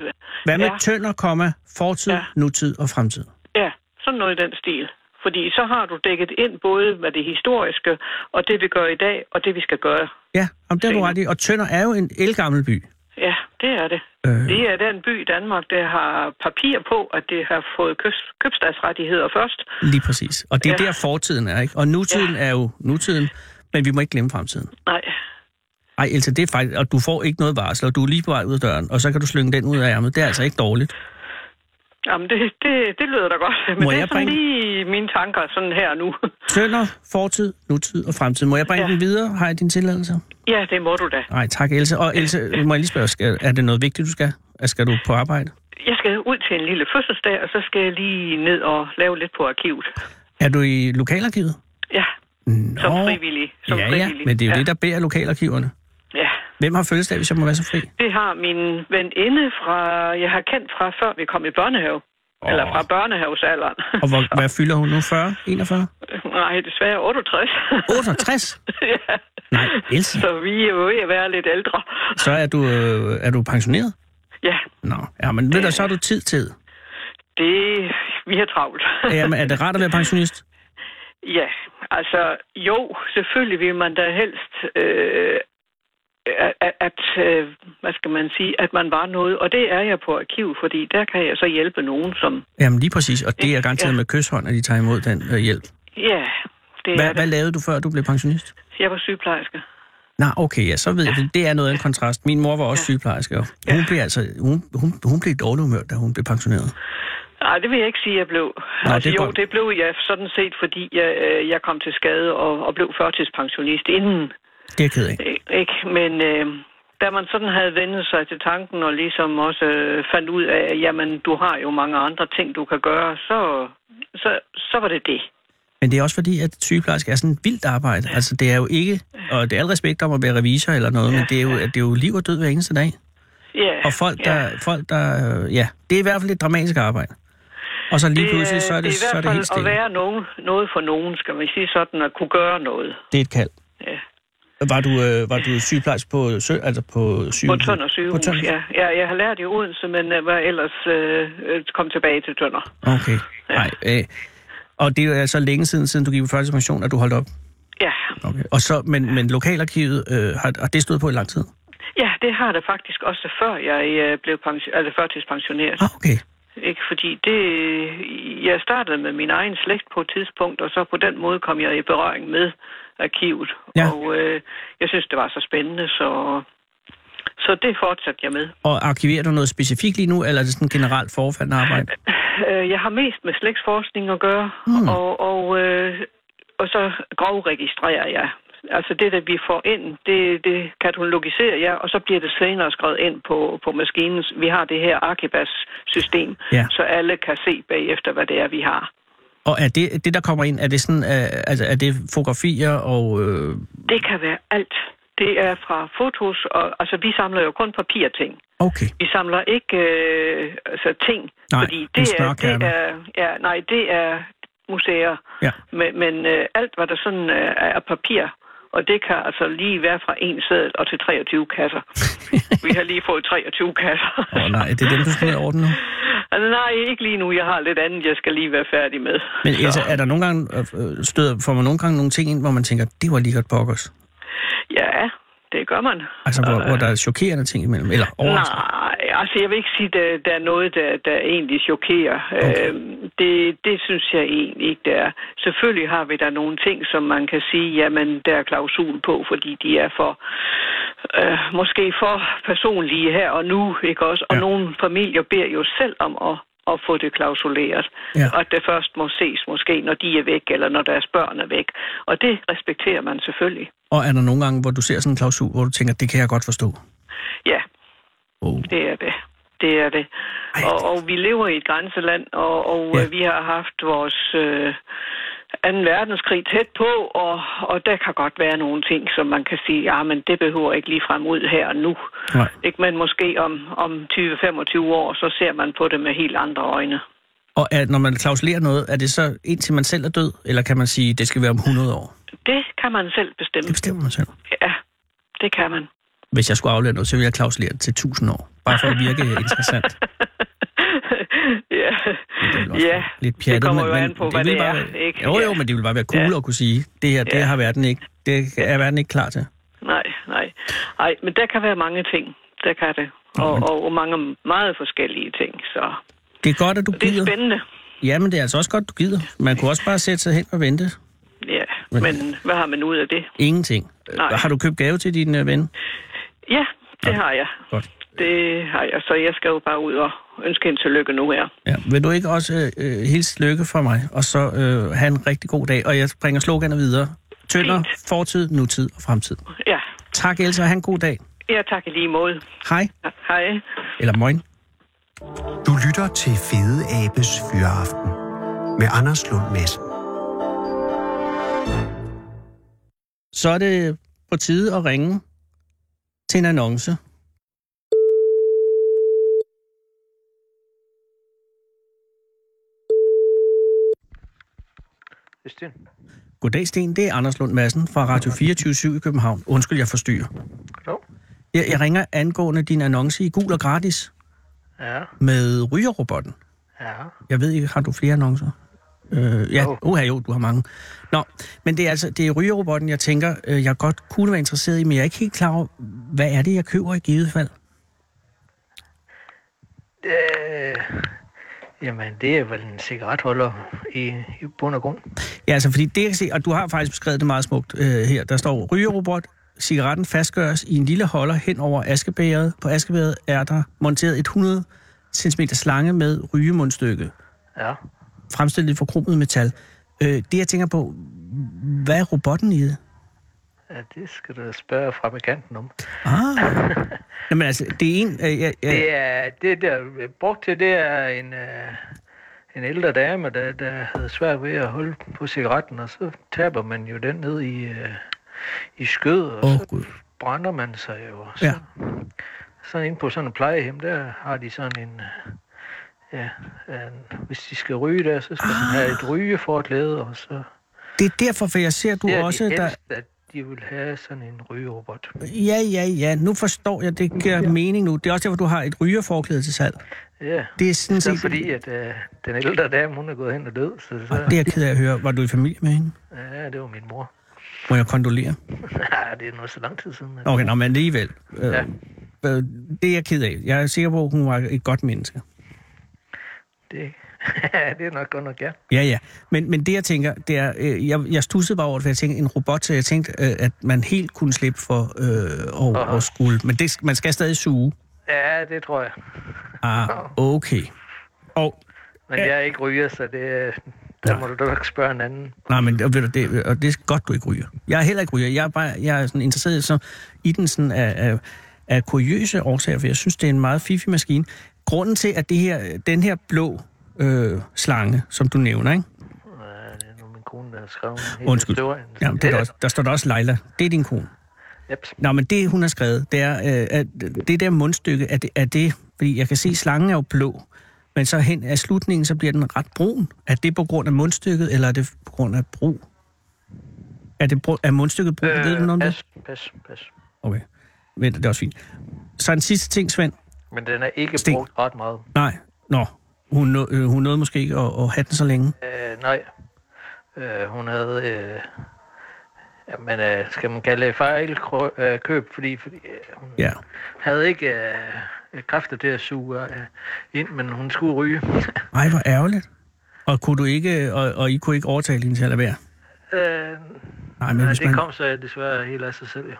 Speaker 4: Hvad med
Speaker 5: Ja.
Speaker 4: tønder, komma, fortid,
Speaker 5: Ja.
Speaker 4: nutid og fremtid?
Speaker 5: Ja, sådan noget i den stil. Fordi så har du dækket ind både hvad det historiske, og det vi gør i dag, og det vi skal gøre.
Speaker 4: Ja, om det er du
Speaker 5: Senere.
Speaker 4: ret i. Og Tønder er jo en elgammel by.
Speaker 5: Ja, det er det.
Speaker 4: Øh.
Speaker 5: Øh. Det er den by i Danmark, der har papir på, at det har fået købs- købstadsrettigheder først.
Speaker 4: Lige præcis. Og det er ja.
Speaker 5: Ja.
Speaker 4: der fortiden er, ikke? Og nutiden ja. er jo nutiden, men vi må ikke glemme fremtiden.
Speaker 5: Nej,
Speaker 4: Ej, Elsa, det er faktisk... Og du får ikke noget varsel, og du er lige på vej ud af døren, og så kan du slynge den ud af ærmet. Det er altså ikke dårligt.
Speaker 5: Jamen, det, det, det lyder da godt. Men
Speaker 4: Må
Speaker 5: det er
Speaker 4: jeg
Speaker 5: sådan
Speaker 4: bringe-
Speaker 5: lige mine tanker sådan her og nu.
Speaker 4: Tønder, fortid, nutid og fremtid. Må jeg bringe ja.
Speaker 5: Ja.
Speaker 4: den videre? Har jeg din tilladelse?
Speaker 5: ja, det må du da.
Speaker 4: Nej, tak, Elsa. Og Elsa, må jeg lige spørge, skal, er det noget vigtigt, du skal? Er- Skal du på arbejde?
Speaker 5: Jeg skal ud til en lille fødselsdag, og så skal jeg lige ned og lave lidt på arkivet.
Speaker 4: Er du i lokalarkivet?
Speaker 5: Ja,
Speaker 4: Nå.
Speaker 5: som frivillig. Som
Speaker 4: ja, ja,
Speaker 5: frivillig.
Speaker 4: men det er jo
Speaker 5: ja.
Speaker 4: ja. det, der bærer lokalarkiverne.
Speaker 5: Ja,
Speaker 4: Hvem har fødselsdag, hvis jeg må være så fri?
Speaker 5: det har min veninde fra, jeg har kendt fra før vi kom i børnehave.
Speaker 4: Åh.
Speaker 5: Oh. Eller fra børnehavesalderen.
Speaker 4: Og hvor, hvad fylder hun nu? 40? 41?
Speaker 5: Nej, desværre 68.
Speaker 4: 68?
Speaker 5: ja.
Speaker 4: Nej, Elsa.
Speaker 5: Så vi er jo ved at være lidt ældre.
Speaker 4: Så er du, øh, er du pensioneret?
Speaker 5: Ja,
Speaker 4: Nå, ja, men ved du, så har du tid til.
Speaker 5: det, vi har travlt.
Speaker 4: Jamen, er det rart at være pensionist?
Speaker 5: Ja, altså jo, selvfølgelig vil man da helst, øh, at, at øh, hvad skal man sige, at man var noget. Og det er jeg på arkiv, fordi der kan jeg så hjælpe nogen, som...
Speaker 4: Jamen, lige præcis. Og det er garanteret
Speaker 5: Ja.
Speaker 4: med kysshånd, at de tager imod den øh, hjælp.
Speaker 5: Ja, det er
Speaker 4: Hvad,
Speaker 5: det.
Speaker 4: hvad lavede du, før du blev pensionist?
Speaker 5: Jeg var sygeplejerske.
Speaker 4: Nej, okay, ja, så ved jeg, det. det er noget af en kontrast. Min mor var også sygeplejerske, og hun blev altså, hun, hun, hun blev i dårlig humør, da hun blev pensioneret.
Speaker 5: Nej, det vil jeg ikke sige, jeg blev.
Speaker 4: Nå,
Speaker 5: altså,
Speaker 4: det er
Speaker 5: jo,
Speaker 4: godt.
Speaker 5: det blev jeg sådan set, fordi jeg, øh, jeg kom til skade og, og blev førtidspensionist inden.
Speaker 4: Det er jeg ked af.
Speaker 5: Ik- Ikke? Men øh, da man sådan havde vendt sig til tanken, og ligesom også øh, fandt ud af, at jamen, du har jo mange andre ting, du kan gøre, så, så, så var det det.
Speaker 4: Men det er også fordi, at sygeplejerske er sådan et vildt arbejde. Altså, det er jo ikke, og det er al respekt om at være revisor eller noget, men det er jo, det er jo liv og død hver eneste dag.
Speaker 5: Ja,
Speaker 4: Og folk,
Speaker 5: ja.
Speaker 4: der... Ja, folk, der, øh, ja det er i hvert fald et dramatisk arbejde. Og så lige det, pludselig, så er det,
Speaker 5: det er i
Speaker 4: så er
Speaker 5: hvert
Speaker 4: det helt
Speaker 5: fald at
Speaker 4: stille.
Speaker 5: være nogen, noget for nogen, skal man sige sådan, at kunne gøre noget.
Speaker 4: Det er et kald.
Speaker 5: Ja.
Speaker 4: Var du, øh, var du sygeplejerske på, sø, altså på
Speaker 5: På
Speaker 4: sygehus?
Speaker 5: Tønder sygehus,
Speaker 4: Tønder?
Speaker 5: ja. ja. Jeg har lært i Odense, men øh, var ellers øh, øh, kom tilbage til Tønder.
Speaker 4: Okay. Nej, øh, og det er jo altså længe siden, siden du gik på førtidspension, at du holdt op.
Speaker 5: Ja.
Speaker 4: Okay. Og så, men, men lokalarkivet, øh, har, har det stået på i lang tid?
Speaker 5: ja, det har det faktisk også, før jeg øh, blev pension, altså førtidspensioneret.
Speaker 4: Ah, okay.
Speaker 5: Ikke? Fordi det, jeg startede med min egen slægt på et tidspunkt, og så på den måde kom jeg i berøring med arkivet.
Speaker 4: Ja.
Speaker 5: Og øh, jeg synes, det var så spændende, så, så det fortsatte jeg med.
Speaker 4: Og arkiverer du noget specifikt lige nu, eller er det sådan generelt forfaldende arbejde?
Speaker 5: Øh, jeg har mest med slægtsforskning at gøre, mm. og, og, øh, og så grovregistrerer jeg. Altså det, der vi får ind, det, det katalogiserer jeg, og så bliver det senere skrevet ind på, på maskinen. Vi har det her Archibas-system,
Speaker 4: Ja.
Speaker 5: så alle kan se bagefter, hvad det er, vi har.
Speaker 4: Og er det, det, der kommer ind, er det, sådan, er, altså, er det fotografier og... Øh,
Speaker 5: Det kan være alt. Det er fra fotos, og altså vi samler jo kun papirting.
Speaker 4: okay,
Speaker 5: Vi samler ikke øh, altså ting,
Speaker 4: Nej,
Speaker 5: fordi
Speaker 4: en
Speaker 5: det er,
Speaker 4: snørkærme.
Speaker 5: det er ja, nej, det er museer.
Speaker 4: Ja.
Speaker 5: Men, men øh, alt hvad der sådan øh, er af papir, og det kan altså lige være fra en sædel og til 23 kasser. Vi har lige fået 23 kasser.
Speaker 4: Åh, nej, det er dem, du skal ned og ordne nu.
Speaker 5: Altså, nej, ikke lige nu. Jeg har lidt andet, jeg skal lige være færdig med.
Speaker 4: Men
Speaker 5: Så-
Speaker 4: altså, er der nogle gange, øh, øh, støder, får man nogle gange nogle ting ind, hvor man tænker, det var lige godt pokkers?
Speaker 5: Ja, det gør man.
Speaker 4: Altså, hvor, hvor der er chokerende ting imellem, eller overraskende?
Speaker 5: Nej, altså jeg vil ikke sige, at der, der er noget, der, der egentlig chokerer.
Speaker 4: Okay.
Speaker 5: Okay. Øhm, det, det synes jeg egentlig ikke, der er. Selvfølgelig har vi der nogle ting, som man kan sige, jamen der er klausul på, fordi de er for, øh, måske for personlige her og nu, ikke også? Og
Speaker 4: Ja.
Speaker 5: ja. nogle familier beder jo selv om at at få det klausuleret.
Speaker 4: Ja.
Speaker 5: Og at det først må ses måske, når de er væk, eller når deres børn er væk. Og det respekterer man selvfølgelig.
Speaker 4: Og er der nogle gange, hvor du ser sådan en klausul, hvor du tænker, det kan jeg godt forstå?
Speaker 5: Ja,
Speaker 4: Oh.
Speaker 5: Det er det. Det er det.
Speaker 4: Ej,
Speaker 5: Og, og vi lever i et grænseland, og, og
Speaker 4: Ja.
Speaker 5: ja. vi har haft vores øh, 2. verdenskrig tæt på, og, og der kan godt være nogle ting, som man kan sige, ja, men det behøver ikke lige frem ud her og nu.
Speaker 4: Nej.
Speaker 5: Ikke, men måske om, om 20-25 år, så ser man på det med helt andre øjne.
Speaker 4: Og er, når man klausulerer noget, er det så indtil man selv er død, eller kan man sige, det skal være om 100 år?
Speaker 5: Det kan man selv bestemme.
Speaker 4: Det bestemmer man selv.
Speaker 5: Ja, det kan man.
Speaker 4: Hvis jeg skulle aflevere noget, så ville jeg klausulere det til 1000 år. Bare for at virke interessant.
Speaker 5: ja,
Speaker 4: Det er vel også
Speaker 5: ja.
Speaker 4: lidt pjattet,
Speaker 5: det kommer jo
Speaker 4: men,
Speaker 5: an på,
Speaker 4: men
Speaker 5: hvad
Speaker 4: ville
Speaker 5: det er.
Speaker 4: bare,
Speaker 5: ikke?
Speaker 4: Jo, jo,
Speaker 5: Ja.
Speaker 4: men det ville bare være cool ja. at kunne sige, det her, det
Speaker 5: Ja.
Speaker 4: har verden ikke, det er verden ikke klar til.
Speaker 5: Nej, nej. Ej, men der kan være mange ting. Der kan det. Og, og, og mange meget forskellige ting. Så
Speaker 4: Det er godt, at du
Speaker 5: det er
Speaker 4: gider.
Speaker 5: spændende.
Speaker 4: Ja, men det er altså også godt, du gider. Man kunne også bare sætte sig hen og vente.
Speaker 5: Ja, men hvad har man ud af det?
Speaker 4: Ingenting.
Speaker 5: Nej.
Speaker 4: Har du købt gave til din øh, ven?
Speaker 5: Ja, det har jeg.
Speaker 4: Godt.
Speaker 5: Det har jeg, så jeg skal jo bare ud og ønske hende tillykke nu her.
Speaker 4: Ja. Vil du ikke også øh, øh, hilse lykke fra mig, og så øh, have en rigtig god dag, og jeg bringer sloganet videre. Tønder,
Speaker 5: Fint.
Speaker 4: fortid, nutid og fremtid.
Speaker 5: Ja,
Speaker 4: Tak, Elsa, og have en god dag.
Speaker 5: ja tak i lige måde.
Speaker 4: Hej.
Speaker 5: Ja, hej.
Speaker 4: Eller moin.
Speaker 3: Du lytter til Fede Abes Fyraften med Anders Lund Madsen.
Speaker 4: Så er det på tide at ringe til en annonce.
Speaker 7: Sten.
Speaker 4: Goddag, Sten. Det er Anders Lund Madsen fra Radio 24 i København. Undskyld, jeg forstyrrer.
Speaker 7: Jo.
Speaker 4: Jeg, jeg ringer angående din annonce i Gul og Gratis
Speaker 7: Ja,
Speaker 4: med rygerrobotten.
Speaker 7: ja.
Speaker 4: Jeg ved ikke, har du flere annoncer? Øh, ja,
Speaker 7: Jo.
Speaker 4: Oha, jo, du har mange. Nå, men det er altså, det er rygerobotten, jeg tænker, øh, jeg godt kunne være interesseret i, men jeg er ikke helt klar over, hvad er det, jeg køber i givet fald?
Speaker 7: Øh, jamen, det er vel en cigaretholder i, i bund og grund.
Speaker 4: Ja, altså, fordi det, jeg kan se, og du har faktisk beskrevet det meget smukt øh, her, der står rygerobot, cigaretten fastgøres i en lille holder hen over askebæret. På askebæret er der monteret et 100 cm slange med rygemundstykke,
Speaker 7: Ja.
Speaker 4: fremstillet i forkromet metal. Øh, det, jeg tænker på, hvad er robotten i det?
Speaker 7: ja, det skal du spørge fabrikanten om.
Speaker 4: Ah. Jamen altså, det er en... Øh, jeg, jeg,
Speaker 7: Det er, det der er brugt til, det er en, øh, en ældre dame, der, der havde svært ved at holde på cigaretten, og så taber man jo den ned i, øh, i skødet, og
Speaker 4: Åh,
Speaker 7: så
Speaker 4: Gud.
Speaker 7: brænder man sig jo. Så,
Speaker 4: Ja.
Speaker 7: så inde på sådan en plejehjem, der har de sådan en... øh, Ja, en, hvis de skal ryge der, så skal ah. de have et rygeforklæde, og så...
Speaker 4: det er derfor, for jeg ser, du
Speaker 7: det er
Speaker 4: også...
Speaker 7: de
Speaker 4: der,
Speaker 7: ældste, at de vil have sådan en rygerobot.
Speaker 4: ja, ja, ja. Nu forstår jeg, det giver ja. mening nu. Det er også derfor, du har et rygerforklæde til salg.
Speaker 7: Ja,
Speaker 4: Det er sådan
Speaker 7: det er
Speaker 4: set...
Speaker 7: fordi, at øh, den ældre dame, hun er gået hen og død, så... så
Speaker 4: Ah, Det er jeg ked af at høre. Var du i familie med hende?
Speaker 7: Ja, det var min mor.
Speaker 4: Må jeg kondolere?
Speaker 7: Nej, det er nu så lang tid siden. at-
Speaker 4: Okay, nå, men alligevel. Øh,
Speaker 7: Ja.
Speaker 4: øh, det er jeg ked af. Jeg er sikker på, at hun var et godt menneske.
Speaker 7: Det, det er nok godt nok, ja.
Speaker 4: Ja, ja. Men, men det, jeg tænker, det er... Øh, jeg, jeg stussede bare over det, for jeg tænkte, en robot, så jeg tænkte, øh, at man helt kunne slippe for øh, og, og skulle... Men det, man skal stadig suge.
Speaker 7: Ja, det tror jeg.
Speaker 4: Ah, okay. Og
Speaker 7: Men jeg er ikke ryger, så det, øh, der må du nok spørge en anden.
Speaker 4: Nej, men og ved du, det, og det er godt, du ikke ryger. Jeg er heller ikke ryger. Jeg er, bare, jeg er sådan interesseret så, i den sådan af, af, af kuriøse årsager, for jeg synes, det er en meget fiffig maskine. Grunden til, at det her, den her blå øh, slange, som du nævner, ikke?
Speaker 8: kone, der har skrevet hele
Speaker 4: Undskyld.
Speaker 8: historien.
Speaker 4: Jamen, det er der, også, der står der også Leila. Det er din kone.
Speaker 8: Yep.
Speaker 4: Nå, men det, hun har skrevet, det er, øh, at det der mundstykke, er det, er det, fordi jeg kan se, slangen er jo blå, men så hen af slutningen, så bliver den ret brun. Er det på grund af mundstykket, eller er det på grund af brug? Er, det brug, er mundstykket brun? Øh, Ved du noget om det?
Speaker 8: pas, pas, pas.
Speaker 4: Okay. Vent, det er også fint. Så en sidste ting, Svend.
Speaker 8: Men den er ikke
Speaker 4: Sten.
Speaker 8: brugt ret meget.
Speaker 4: Nej, nå. Hun, nå, øh, hun nåede måske ikke at, at have den så længe.
Speaker 8: Øh, nej. Øh, hun havde... Øh, jamen, øh, skal man kalde det fejl krø- øh, køb, fordi, fordi øh, hun
Speaker 4: Ja.
Speaker 8: havde ikke øh, kræfter til at suge øh, ind, men hun skulle ryge.
Speaker 4: Ej, hvor ærgerligt. Og, kunne du ikke, øh, og, og I kunne ikke overtale hende til at lade være?
Speaker 8: øh,
Speaker 4: Nej, men
Speaker 8: men
Speaker 4: hvis man,
Speaker 8: det kom så desværre helt af sig selv, jo.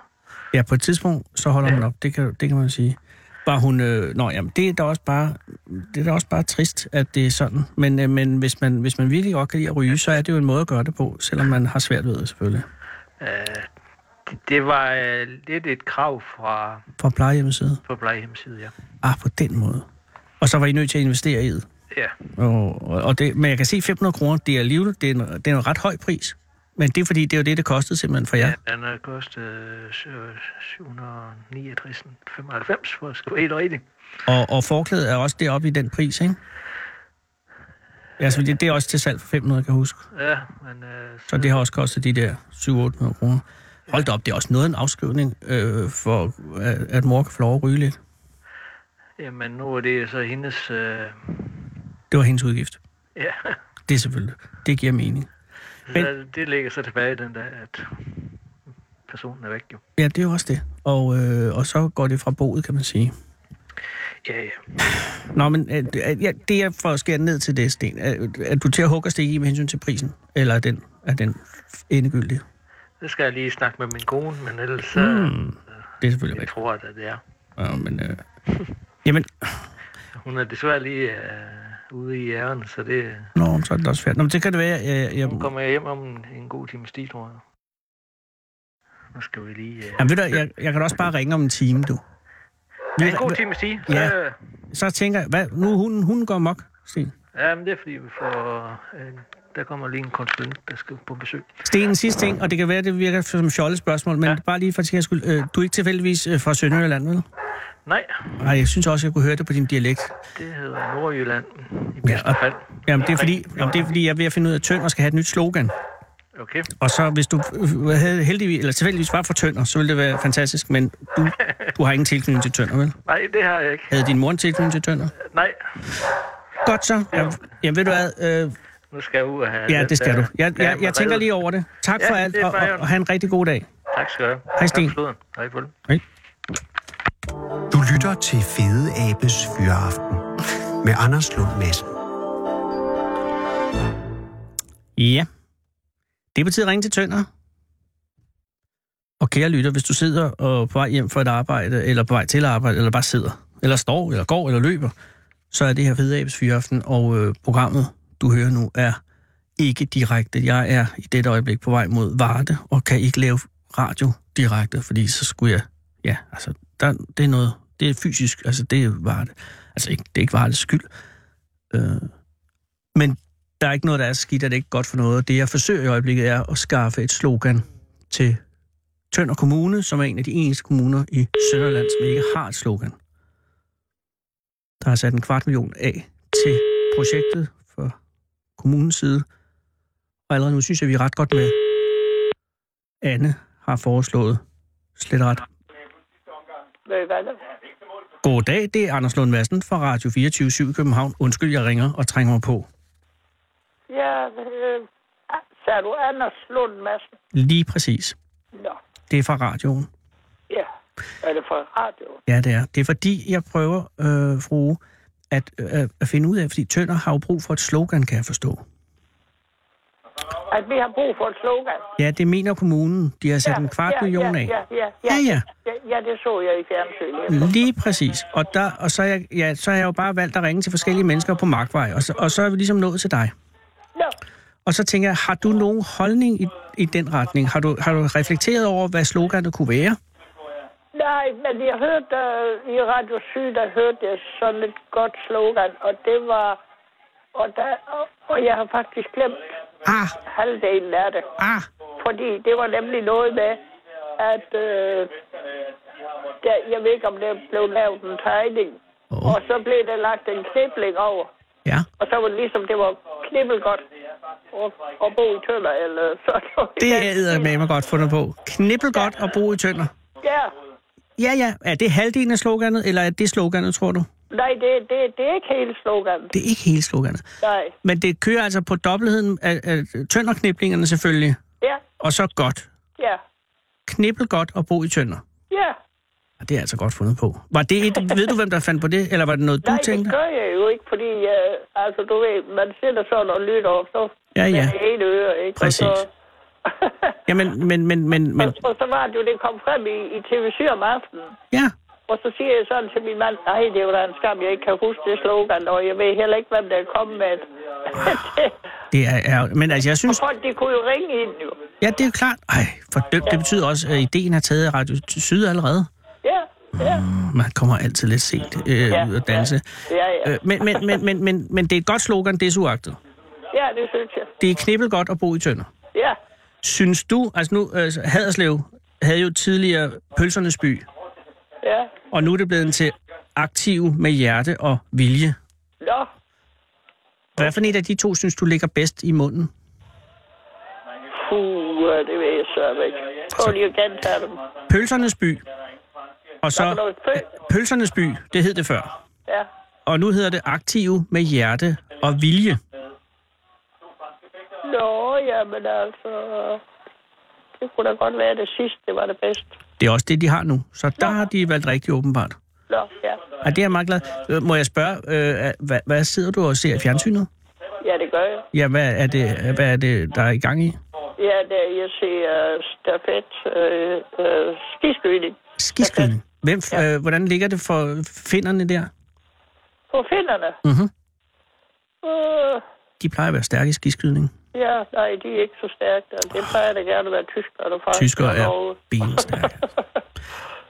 Speaker 4: ja, på et tidspunkt, så holder hun op. Det kan, det kan man sige. Bare hun, øh, nå, jamen, det er da også bare, det er da også bare trist, at det er sådan. Men, øh, men hvis, man, hvis man virkelig godt kan lide at ryge, så er det jo en måde at gøre det på, selvom man har svært ved det selvfølgelig.
Speaker 8: Øh, det- det var øh, lidt et krav fra
Speaker 4: Fra plejehjemmets side.
Speaker 8: på plejehjemmesiden, ja.
Speaker 4: Ah, på den måde. Og så var I nødt til at investere i det.
Speaker 8: Ja,
Speaker 4: Og, og og det, men jeg kan se 500 kroner, det er alligevel det er, en, det er en ret høj pris. Men det er fordi, det er jo det, det kostede simpelthen for jer.
Speaker 8: ja. den har kostet øh, syv- 769,95 for at skrive helt rigtigt.
Speaker 4: Og, og forklædet er også deroppe i den pris, ikke? Ja, altså, det, det er også til salg for 500, kan jeg huske.
Speaker 8: Ja, men øh,
Speaker 4: Så det har også kostet de der 700-800 kroner. Hold da op, det er også noget af en afskrivning, øh, for at, at mor kan få lov at ryge lidt.
Speaker 8: jamen, nu er det så hendes... Øh,
Speaker 4: Det var hendes udgift.
Speaker 8: ja,
Speaker 4: Det er selvfølgelig. Det giver mening. Men-
Speaker 8: så det ligger så tilbage i den der, at personen er væk jo.
Speaker 4: Ja, det er jo også det. Og, øh, og så går det fra boet, kan man sige.
Speaker 8: Ja, ja.
Speaker 4: Nå, men øh, øh, ja, det er for at skære ned til det, Sten. Er, er du til at hugge og stikke i med hensyn til prisen? Eller er den, er den endegyldig?
Speaker 8: Det skal jeg lige snakke med min kone, men ellers så
Speaker 4: Hmm.
Speaker 8: mm.
Speaker 4: Det er selvfølgelig
Speaker 8: jeg
Speaker 4: rigtigt.
Speaker 8: tror jeg, at det er.
Speaker 4: Ja, men, øh, jamen,
Speaker 8: Hun er desværre lige øh, ude i æren, så det,
Speaker 4: nå, så er det også færdigt. Nå, men det kan det være, øh, jeg,
Speaker 8: hun kommer hjem om en, en god times tid, tror jeg. Nu skal vi lige... Øh,
Speaker 4: jamen, ved du, jeg, jeg kan da også bare ringe om en time, du.
Speaker 8: ja,
Speaker 4: Ved
Speaker 8: en
Speaker 4: du
Speaker 8: god
Speaker 4: hvad-
Speaker 8: times tid.
Speaker 4: Ja.
Speaker 8: Så, øh,
Speaker 4: Så tænker jeg, hvad, nu hunden, hunden går mok, Sten.
Speaker 8: ja, men det er fordi, vi får... Øh, der kommer lige en konsulent, der skal på besøg.
Speaker 4: Sten, en sidste ting, og det kan være, det virker som fjollet spørgsmål, men ja.
Speaker 8: Ja.
Speaker 4: bare lige for at skyld, øh, du er ikke tilfældigvis øh, fra Sønderjylland, vel?
Speaker 8: Nej,
Speaker 4: Nej, jeg synes også, jeg kunne høre det på din dialekt.
Speaker 8: det hedder Nordjylland i bedste
Speaker 4: og-
Speaker 8: fald.
Speaker 4: Jamen, det er fordi, jamen, det er fordi jeg er ved at finde ud af Tønder skal have et nyt slogan.
Speaker 8: Okay.
Speaker 4: Og så hvis du øh, havde heldigvis, eller tilfældigvis var for Tønder, så ville det være fantastisk, men du, du har ingen tilknytning til Tønder, vel?
Speaker 8: Nej, det har jeg ikke.
Speaker 4: Havde din mor en tilknytning til Tønder?
Speaker 8: Nej,
Speaker 4: Godt så. Jamen, jamen ved du hvad, øh,
Speaker 8: nu skal jeg ud og have... øh,
Speaker 4: ja,
Speaker 8: den
Speaker 4: det skal
Speaker 8: der-
Speaker 4: du. Jeg,
Speaker 8: Ja,
Speaker 4: jeg, jeg tænker
Speaker 8: reddet.
Speaker 4: lige over det. Tak
Speaker 8: Ja,
Speaker 4: for
Speaker 8: det er
Speaker 4: alt, og,
Speaker 8: bare i
Speaker 4: og,
Speaker 8: orden.
Speaker 4: og have en rigtig god dag.
Speaker 8: Tak skal du have.
Speaker 4: Hej, Sten.
Speaker 8: Tak for floden. Hej, Fulden.
Speaker 3: Du lytter til Fede Abes Fyraften med Anders Lund Madsen.
Speaker 4: Ja. Det er på tide at ringe til Tønder. Og kære lytter, hvis du sidder og er på vej hjem fra et arbejde, eller på vej til arbejde, eller bare sidder, eller står, eller går, eller løber, så er det her Fede Abes Fyraften, og øh, programmet, du hører nu, er ikke direkte. Jeg er i dette øjeblik på vej mod Varde, og kan ikke lave radio direkte, fordi så skulle jeg... Ja, altså, der, det er noget... Det er fysisk, altså det er Varde. Altså, ikke, det er ikke Vardes skyld. Øh, men der er ikke noget, der er skidt, og det er ikke godt for noget. Og Det, jeg forsøger i øjeblikket, er at skaffe et slogan til Tønder Kommune, som er en af de eneste kommuner i Sønderland, som ikke har et slogan. Der er sat en kvart million af til projektet fra kommunens side. Og allerede nu synes jeg, vi er ret godt med. Anne har foreslået slet ret. God dag, det er Anders Lund Madsen fra Radio 24 i København. Undskyld, jeg ringer og trænger mig på.
Speaker 9: Ja, øh, sagde du Anders Lund Madsen?
Speaker 4: Lige præcis.
Speaker 9: Nå,
Speaker 4: Det er fra radioen.
Speaker 9: ja. Er det fra radioen?
Speaker 4: Ja, det er. Det er fordi, jeg prøver, øh, frue, at, øh, at finde ud af, fordi Tønder har jo brug for et slogan, kan jeg forstå.
Speaker 9: At vi har brug for et slogan.
Speaker 4: Ja, det mener kommunen. De har sat ja, en kvart
Speaker 9: ja,
Speaker 4: million
Speaker 9: ja,
Speaker 4: af.
Speaker 9: Ja, ja,
Speaker 4: Ja, ja.
Speaker 9: ja, ja, ja, det så jeg i fjernsynet.
Speaker 4: Lige præcis. Og, der, og så, er jeg, ja, så har jeg jo bare valgt at ringe til forskellige mennesker på Markvej, og så, og så er vi ligesom nået til dig.
Speaker 9: Nå,
Speaker 4: Og så tænker jeg, har du nogen holdning i, i den retning? Har du, har du reflekteret over, hvad sloganet kunne være?
Speaker 9: nej, men jeg hørte øh, i Radio Syd, der hørte jeg sådan et godt slogan, og det var... Og, der, og, og jeg har faktisk glemt,
Speaker 4: Ah,
Speaker 9: halvdelen af det.
Speaker 4: ah,
Speaker 9: Fordi det var nemlig noget med, at øh, der, jeg ved ikke, om der blev lavet en tegning.
Speaker 4: Åh.
Speaker 9: Og så blev der lagt en knibling over.
Speaker 4: ja.
Speaker 9: Og så var det ligesom, det var knibbel godt at, at bo i tønder. Eller sådan noget.
Speaker 4: Det er med mig godt fundet på. Knippel godt og bo i tønder.
Speaker 9: Ja.
Speaker 4: Ja, ja. Er det halvdelen af sloganet, eller er det sloganet, tror du?
Speaker 9: Nej, det, det, det er ikke hele sloganet.
Speaker 4: Det er ikke hele sloganet.
Speaker 9: Nej.
Speaker 4: Men det kører altså på dobbeltheden af, af tønderkniblingerne selvfølgelig,
Speaker 9: Ja,
Speaker 4: og så godt.
Speaker 9: ja,
Speaker 4: Knippel godt og bo i tønder.
Speaker 9: ja.
Speaker 4: Ja, det er altså godt fundet på. Var det et, ved du, hvem der fandt på det, eller var det noget, du
Speaker 9: Nej,
Speaker 4: tænkte?
Speaker 9: det gør jeg jo ikke, fordi øh, altså, du ved, man sidder sådan og lytter, og så
Speaker 4: Ja, ja.
Speaker 9: med det ene øre, ikke? Og
Speaker 4: Præcis.
Speaker 9: så,
Speaker 4: Jamen, men, men, men, men,
Speaker 9: og, og så var det jo, det kom frem i, i TV7 om aftenen.
Speaker 4: ja.
Speaker 9: Og så siger jeg sådan til min mand, nej, det er jo da en skam, jeg ikke kan huske det slogan, og jeg ved heller ikke, hvem der kom med det.
Speaker 4: Ah. Det er, er, men altså, jeg synes,
Speaker 9: Folk, de kunne jo ringe ind, jo.
Speaker 4: ja, det er klart. Ej, for dømt, det betyder også, at ideen er taget af Radio Syd allerede.
Speaker 9: Ja, ja,
Speaker 4: Man kommer altid lidt sent øh,
Speaker 9: Ja,
Speaker 4: ud at danse.
Speaker 9: ja, ja.
Speaker 4: Øh, men, men, men, men, men, men det er et godt slogan, desuagtet.
Speaker 9: ja, det synes jeg.
Speaker 4: Det er knippel godt at bo i tønder.
Speaker 9: Ja,
Speaker 4: Synes du, altså nu, øh, Haderslev havde jo tidligere Pølsernes by,
Speaker 9: ja.
Speaker 4: og nu er det blevet til aktiv med hjerte og vilje.
Speaker 9: Nå,
Speaker 4: Hvad for et af de to synes du ligger bedst i munden?
Speaker 9: puh, det ved jeg så ikke. Prøv lige at gentage dem.
Speaker 4: Pølsernes by, og
Speaker 9: Hvad for
Speaker 4: så
Speaker 9: noget? Pøl?
Speaker 4: Pølsernes by, det hed det før.
Speaker 9: Ja.
Speaker 4: Og nu hedder det aktiv med hjerte og vilje.
Speaker 9: Nå, jamen altså... Det kunne da godt være, at det sidste det var det bedste.
Speaker 4: Det er også det, de har nu. Så der har de valgt rigtig åbenbart.
Speaker 9: Nå, ja.
Speaker 4: Og det er jeg meget glad. Øh, Må jeg spørge, øh, hvad, hvad sidder du og ser i fjernsynet?
Speaker 9: Ja, det gør jeg.
Speaker 4: Ja, hvad er det, hvad er det der er i gang i?
Speaker 9: Ja, det, jeg ser uh, stafet, øh, øh, skiskydning
Speaker 4: Skiskydning. Hvem, øh, hvordan ligger det for finderne der?
Speaker 9: på finderne.
Speaker 4: Mhm.
Speaker 9: Øh,
Speaker 4: De plejer at være stærke i skiskydning.
Speaker 9: ja, nej, de er ikke så stærke. der. Det plejer da gerne at være tyskere, der faktisk
Speaker 4: Tyskere er benstærke.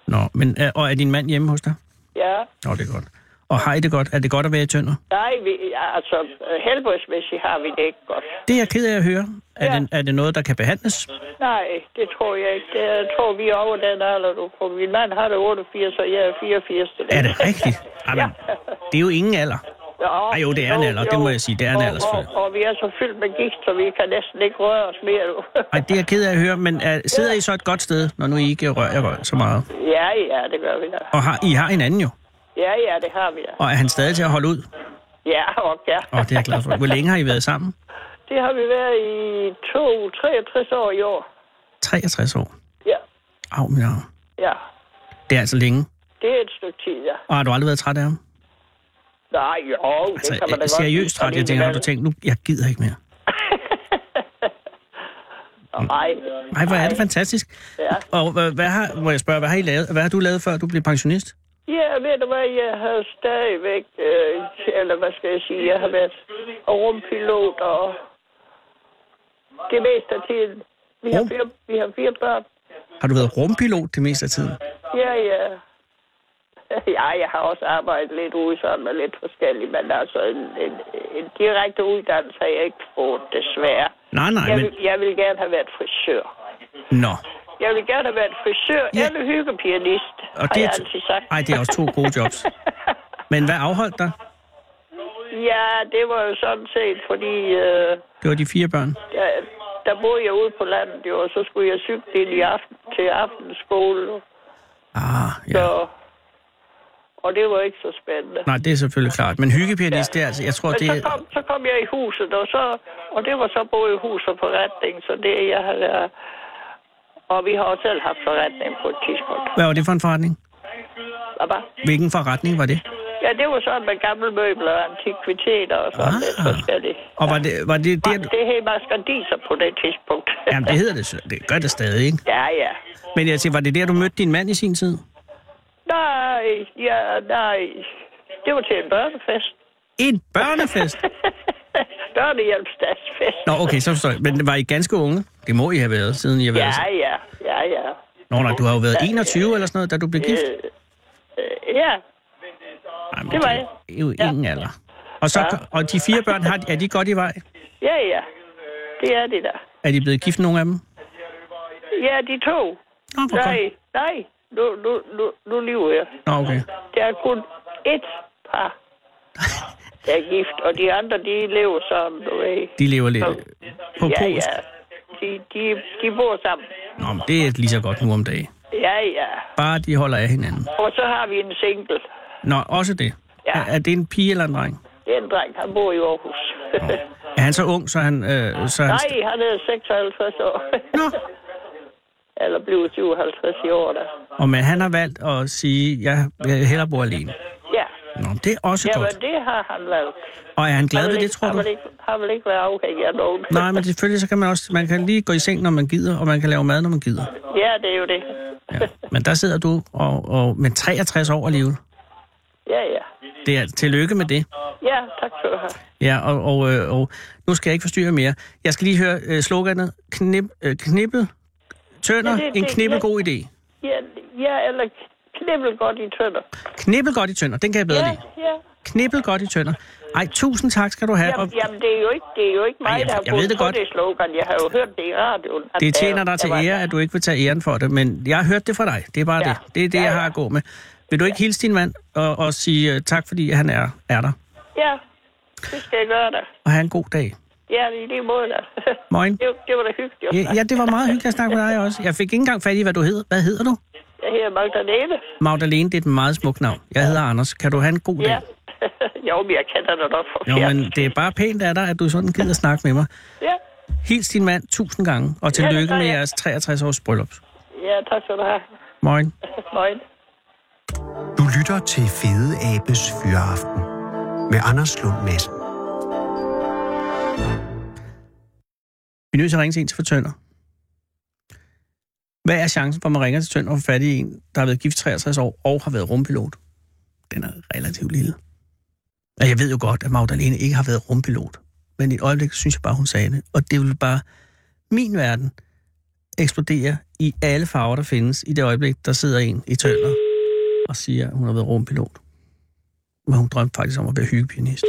Speaker 4: Nå, men, øh, og er din mand hjemme hos dig?
Speaker 9: Ja,
Speaker 4: Nå, det er godt. Og har I det godt? Er det godt at være i tønder?
Speaker 9: nej, vi, ja, altså øh, helbredsmæssigt har vi det ikke godt.
Speaker 4: Det er jeg ked af at høre. Er, ja. det, er det noget, der kan behandles?
Speaker 9: Nej, det tror jeg ikke. Det, jeg tror, vi er over den alder, du på. Min mand har det 88, og jeg er 84.
Speaker 4: Er det rigtigt? Jamen, det er jo ingen alder.
Speaker 9: Ja,
Speaker 4: Ej, jo, det er en alder. Det må jeg sige. Det er en
Speaker 9: Og-
Speaker 4: alder, selvfølgelig.
Speaker 9: Og, og, vi er så fyldt med gigt, så vi kan næsten ikke røre os mere nu.
Speaker 4: Ej, det er jeg ked af at høre, men er, sidder I så et godt sted, når nu I ikke rører jer så meget?
Speaker 9: ja, ja, det gør vi da.
Speaker 4: Og har, I har hinanden jo.
Speaker 9: Ja, ja, det har vi da.
Speaker 4: Og er han stadig til at holde ud?
Speaker 9: Ja, og ja.
Speaker 4: Åh, det er jeg glad for. Hvor længe har I været sammen?
Speaker 9: Det har vi været i 2, 63 år i år.
Speaker 4: 63 år.
Speaker 9: Ja,
Speaker 4: Au, min arm.
Speaker 9: ja.
Speaker 4: Det er altså længe.
Speaker 9: Det er et stykke tid, ja.
Speaker 4: Og har du aldrig været træt af ham?
Speaker 9: Nej, jo,
Speaker 4: Altså,
Speaker 9: det kan man da
Speaker 4: øh,
Speaker 9: godt.
Speaker 4: seriøst træt. Jeg tænker, har du tænkt, nu, jeg gider ikke mere.
Speaker 9: Nej.
Speaker 4: Nej, hvor er det fantastisk.
Speaker 9: Ja.
Speaker 4: Og hvad, hvad har, må jeg spørge, hvad har, I lavet, hvad har du lavet, før du blev pensionist?
Speaker 9: Ja, ved du hvad, jeg har stadigvæk, øh, eller hvad skal jeg sige, jeg har været rumpilot og det meste af tiden. Vi har
Speaker 4: Rum?
Speaker 9: fire, vi har fire børn.
Speaker 4: Har du været rumpilot det meste af tiden?
Speaker 9: Ja, ja. Ja, jeg har også arbejdet lidt ude sådan med lidt forskelligt, men altså en, en, en direkte uddannelse har jeg ikke fået, desværre.
Speaker 4: Nej, nej,
Speaker 9: Jeg
Speaker 4: men...
Speaker 9: vil, jeg vil gerne have været frisør.
Speaker 4: Nå.
Speaker 9: Jeg vil gerne have været frisør
Speaker 4: Ja.
Speaker 9: ja. eller hyggepianist,
Speaker 4: Og
Speaker 9: har
Speaker 4: det
Speaker 9: jeg
Speaker 4: er
Speaker 9: altid sagt.
Speaker 4: Ej, det er også to gode jobs. Men hvad afholdt dig?
Speaker 9: Ja, det var jo sådan set, fordi øh,
Speaker 4: Det var de fire børn.
Speaker 9: der, der boede jeg ude på landet, jo, og så skulle jeg cykle ind i aften, til aftenskole,
Speaker 4: Ah, ja.
Speaker 9: så, og det var ikke så spændende.
Speaker 4: Nej, det er selvfølgelig klart. Men hyggepianist, det er altså... Jeg tror,
Speaker 9: Men
Speaker 4: det
Speaker 9: så,
Speaker 4: er...
Speaker 9: kom, så kom jeg i huset, og, så, og det var så både hus og forretning, så det jeg har... Og vi har også selv haft forretning på et tidspunkt.
Speaker 4: Hvad var det for en forretning?
Speaker 9: Hvad var?
Speaker 4: Hvilken forretning var det?
Speaker 9: Ja, det var sådan med gamle møbler og antikviteter og sådan
Speaker 4: Ah.
Speaker 9: lidt forskelligt.
Speaker 4: Og var det... Var det,
Speaker 9: Det,
Speaker 4: det
Speaker 9: det hed maskandiser på det tidspunkt.
Speaker 4: jamen, det hedder det. så- Det gør det stadig, ikke?
Speaker 9: ja, ja.
Speaker 4: Men jeg siger, var det der, du mødte din mand i sin tid?
Speaker 9: Nej, ja, nej. Det var til en børnefest.
Speaker 4: En børnefest?
Speaker 9: Børnehjælpsdagsfest.
Speaker 4: Nå, okay, så forstår jeg. Men var I ganske unge? Det må I have været, siden I har været...
Speaker 9: Ja, ja, ja, ja.
Speaker 4: Nå, nej, du har jo været 21 eller sådan noget, da du blev gift.
Speaker 9: Øh, øh, ja,
Speaker 4: Nej, men
Speaker 9: det var
Speaker 4: er jo- er jo ingen alder. Og, så, og de fire børn, har, de- er de godt i vej?
Speaker 9: ja, ja. Det er det der.
Speaker 4: Er de blevet gift, nogle af dem?
Speaker 9: Ja, de to.
Speaker 4: Nå, hvor godt.
Speaker 9: Nej, nej. Nu, nu, nu, nu lever jeg.
Speaker 4: Nå, okay.
Speaker 9: Der er kun ét par, der er gift, og de andre, de lever sammen, du ved.
Speaker 4: De lever lidt på
Speaker 9: ja,
Speaker 4: polsk.
Speaker 9: ja. De, de, de bor sammen.
Speaker 4: Nå, men det er lige så godt nu om dagen.
Speaker 9: Ja, ja.
Speaker 4: Bare de holder af hinanden.
Speaker 9: Og så har vi en single.
Speaker 4: Nå, også det.
Speaker 9: Ja. Øh.
Speaker 4: Er, er det en pige eller en dreng?
Speaker 9: Det er en dreng, han bor i Aarhus.
Speaker 4: Er han så ung, så han... Øh, så han
Speaker 9: Nej, han er 56 år.
Speaker 4: Nå.
Speaker 9: Eller bliver 57 i år, da.
Speaker 4: Og men han har valgt at sige, jeg jeg hellere bor alene.
Speaker 9: Ja.
Speaker 4: Nå, men det er også
Speaker 9: Ja,
Speaker 4: godt.
Speaker 9: men det har han valgt.
Speaker 4: Og er han glad
Speaker 9: Han
Speaker 4: ved
Speaker 9: vil
Speaker 4: det,
Speaker 9: ikke-
Speaker 4: tror
Speaker 9: han
Speaker 4: du?
Speaker 9: Vil ikke, han vil ikke være afhængig af nogen.
Speaker 4: Nej, men selvfølgelig så kan man også... Man kan lige gå i seng, når man gider, og man kan lave mad, når man gider.
Speaker 9: Ja, det er jo det.
Speaker 4: Ja. Men der sidder du og, og med 63 år alligevel.
Speaker 9: Ja, ja.
Speaker 4: Det er tillykke med det.
Speaker 9: Ja, tak skal du have.
Speaker 4: Ja, og, og, øh, og nu skal jeg ikke forstyrre mere. Jeg skal lige høre øh, sloganet. Knip, øh, knippel. Tønder,
Speaker 9: Ja, det-
Speaker 4: en
Speaker 9: det-
Speaker 4: knippelgod idé.
Speaker 9: Ja, ja eller knibbel godt i tønder.
Speaker 4: Knippel godt i tønder, den kan jeg bedre
Speaker 9: Ja,
Speaker 4: lide.
Speaker 9: ja.
Speaker 4: Knippel godt i tønder. Ej, tusind tak skal du have.
Speaker 9: Jamen,
Speaker 4: og
Speaker 9: jamen, det er jo ikke, det er jo ikke mig,
Speaker 4: Ej, jeg-
Speaker 9: der har
Speaker 4: jeg ved
Speaker 9: fundet
Speaker 4: det
Speaker 9: på
Speaker 4: godt.
Speaker 9: det slogan. Jeg har jo hørt det i radioen. at
Speaker 4: det
Speaker 9: der-
Speaker 4: tjener dig
Speaker 9: der
Speaker 4: til
Speaker 9: var-
Speaker 4: ære, at du ikke vil tage æren for det, men jeg har hørt det fra dig. Det er bare
Speaker 9: Ja.
Speaker 4: det. Det er det,
Speaker 9: Ja,
Speaker 4: jeg
Speaker 9: ja.
Speaker 4: har at gå med. Vil du ikke hilse din mand og, og sige øh, tak, fordi han er, er der?
Speaker 9: Ja, det skal jeg gøre da.
Speaker 4: Og have en god dag.
Speaker 9: Ja, i lige måde da.
Speaker 4: Morgen.
Speaker 9: Det, det var da hyggeligt. at
Speaker 4: Ja,
Speaker 9: snakke.
Speaker 4: ja, det var meget hyggeligt at snakke med dig også. Jeg fik ikke engang fat i, hvad du hed. Hvad hedder du?
Speaker 9: Jeg hedder Magdalene.
Speaker 4: Magdalene, det er et meget smukt navn. Jeg hedder Anders. Kan du have en god dag?
Speaker 9: Ja. jo, men jeg kender dig nok for
Speaker 4: Jo, men det er bare pænt af dig, at du sådan gider snakke med mig.
Speaker 9: Ja,
Speaker 4: Hils din mand tusind gange, og
Speaker 9: det
Speaker 4: tillykke
Speaker 9: gør
Speaker 4: med
Speaker 9: jeg.
Speaker 4: jeres 63-års bryllup.
Speaker 9: ja tak skal du have.
Speaker 4: Morgen.
Speaker 9: Moin.
Speaker 3: Du lytter til Fede Abes Fyraften med Anders Lund Madsen.
Speaker 4: Vi er nødt til at ringe til en til for Tønder. Hvad er chancen for, at man ringer til Tønder og får fat i en, der har været gift 63 år og har været rumpilot? Den er relativt lille. Og jeg ved jo godt, at Magdalene ikke har været rumpilot. Men i et øjeblik synes jeg bare, hun sagde det. Og det vil bare min verden eksplodere i alle farver, der findes. I det øjeblik, der sidder en i Tønder og siger, at hun har været rumpilot. Men hun drømte faktisk om at være hyggepianist.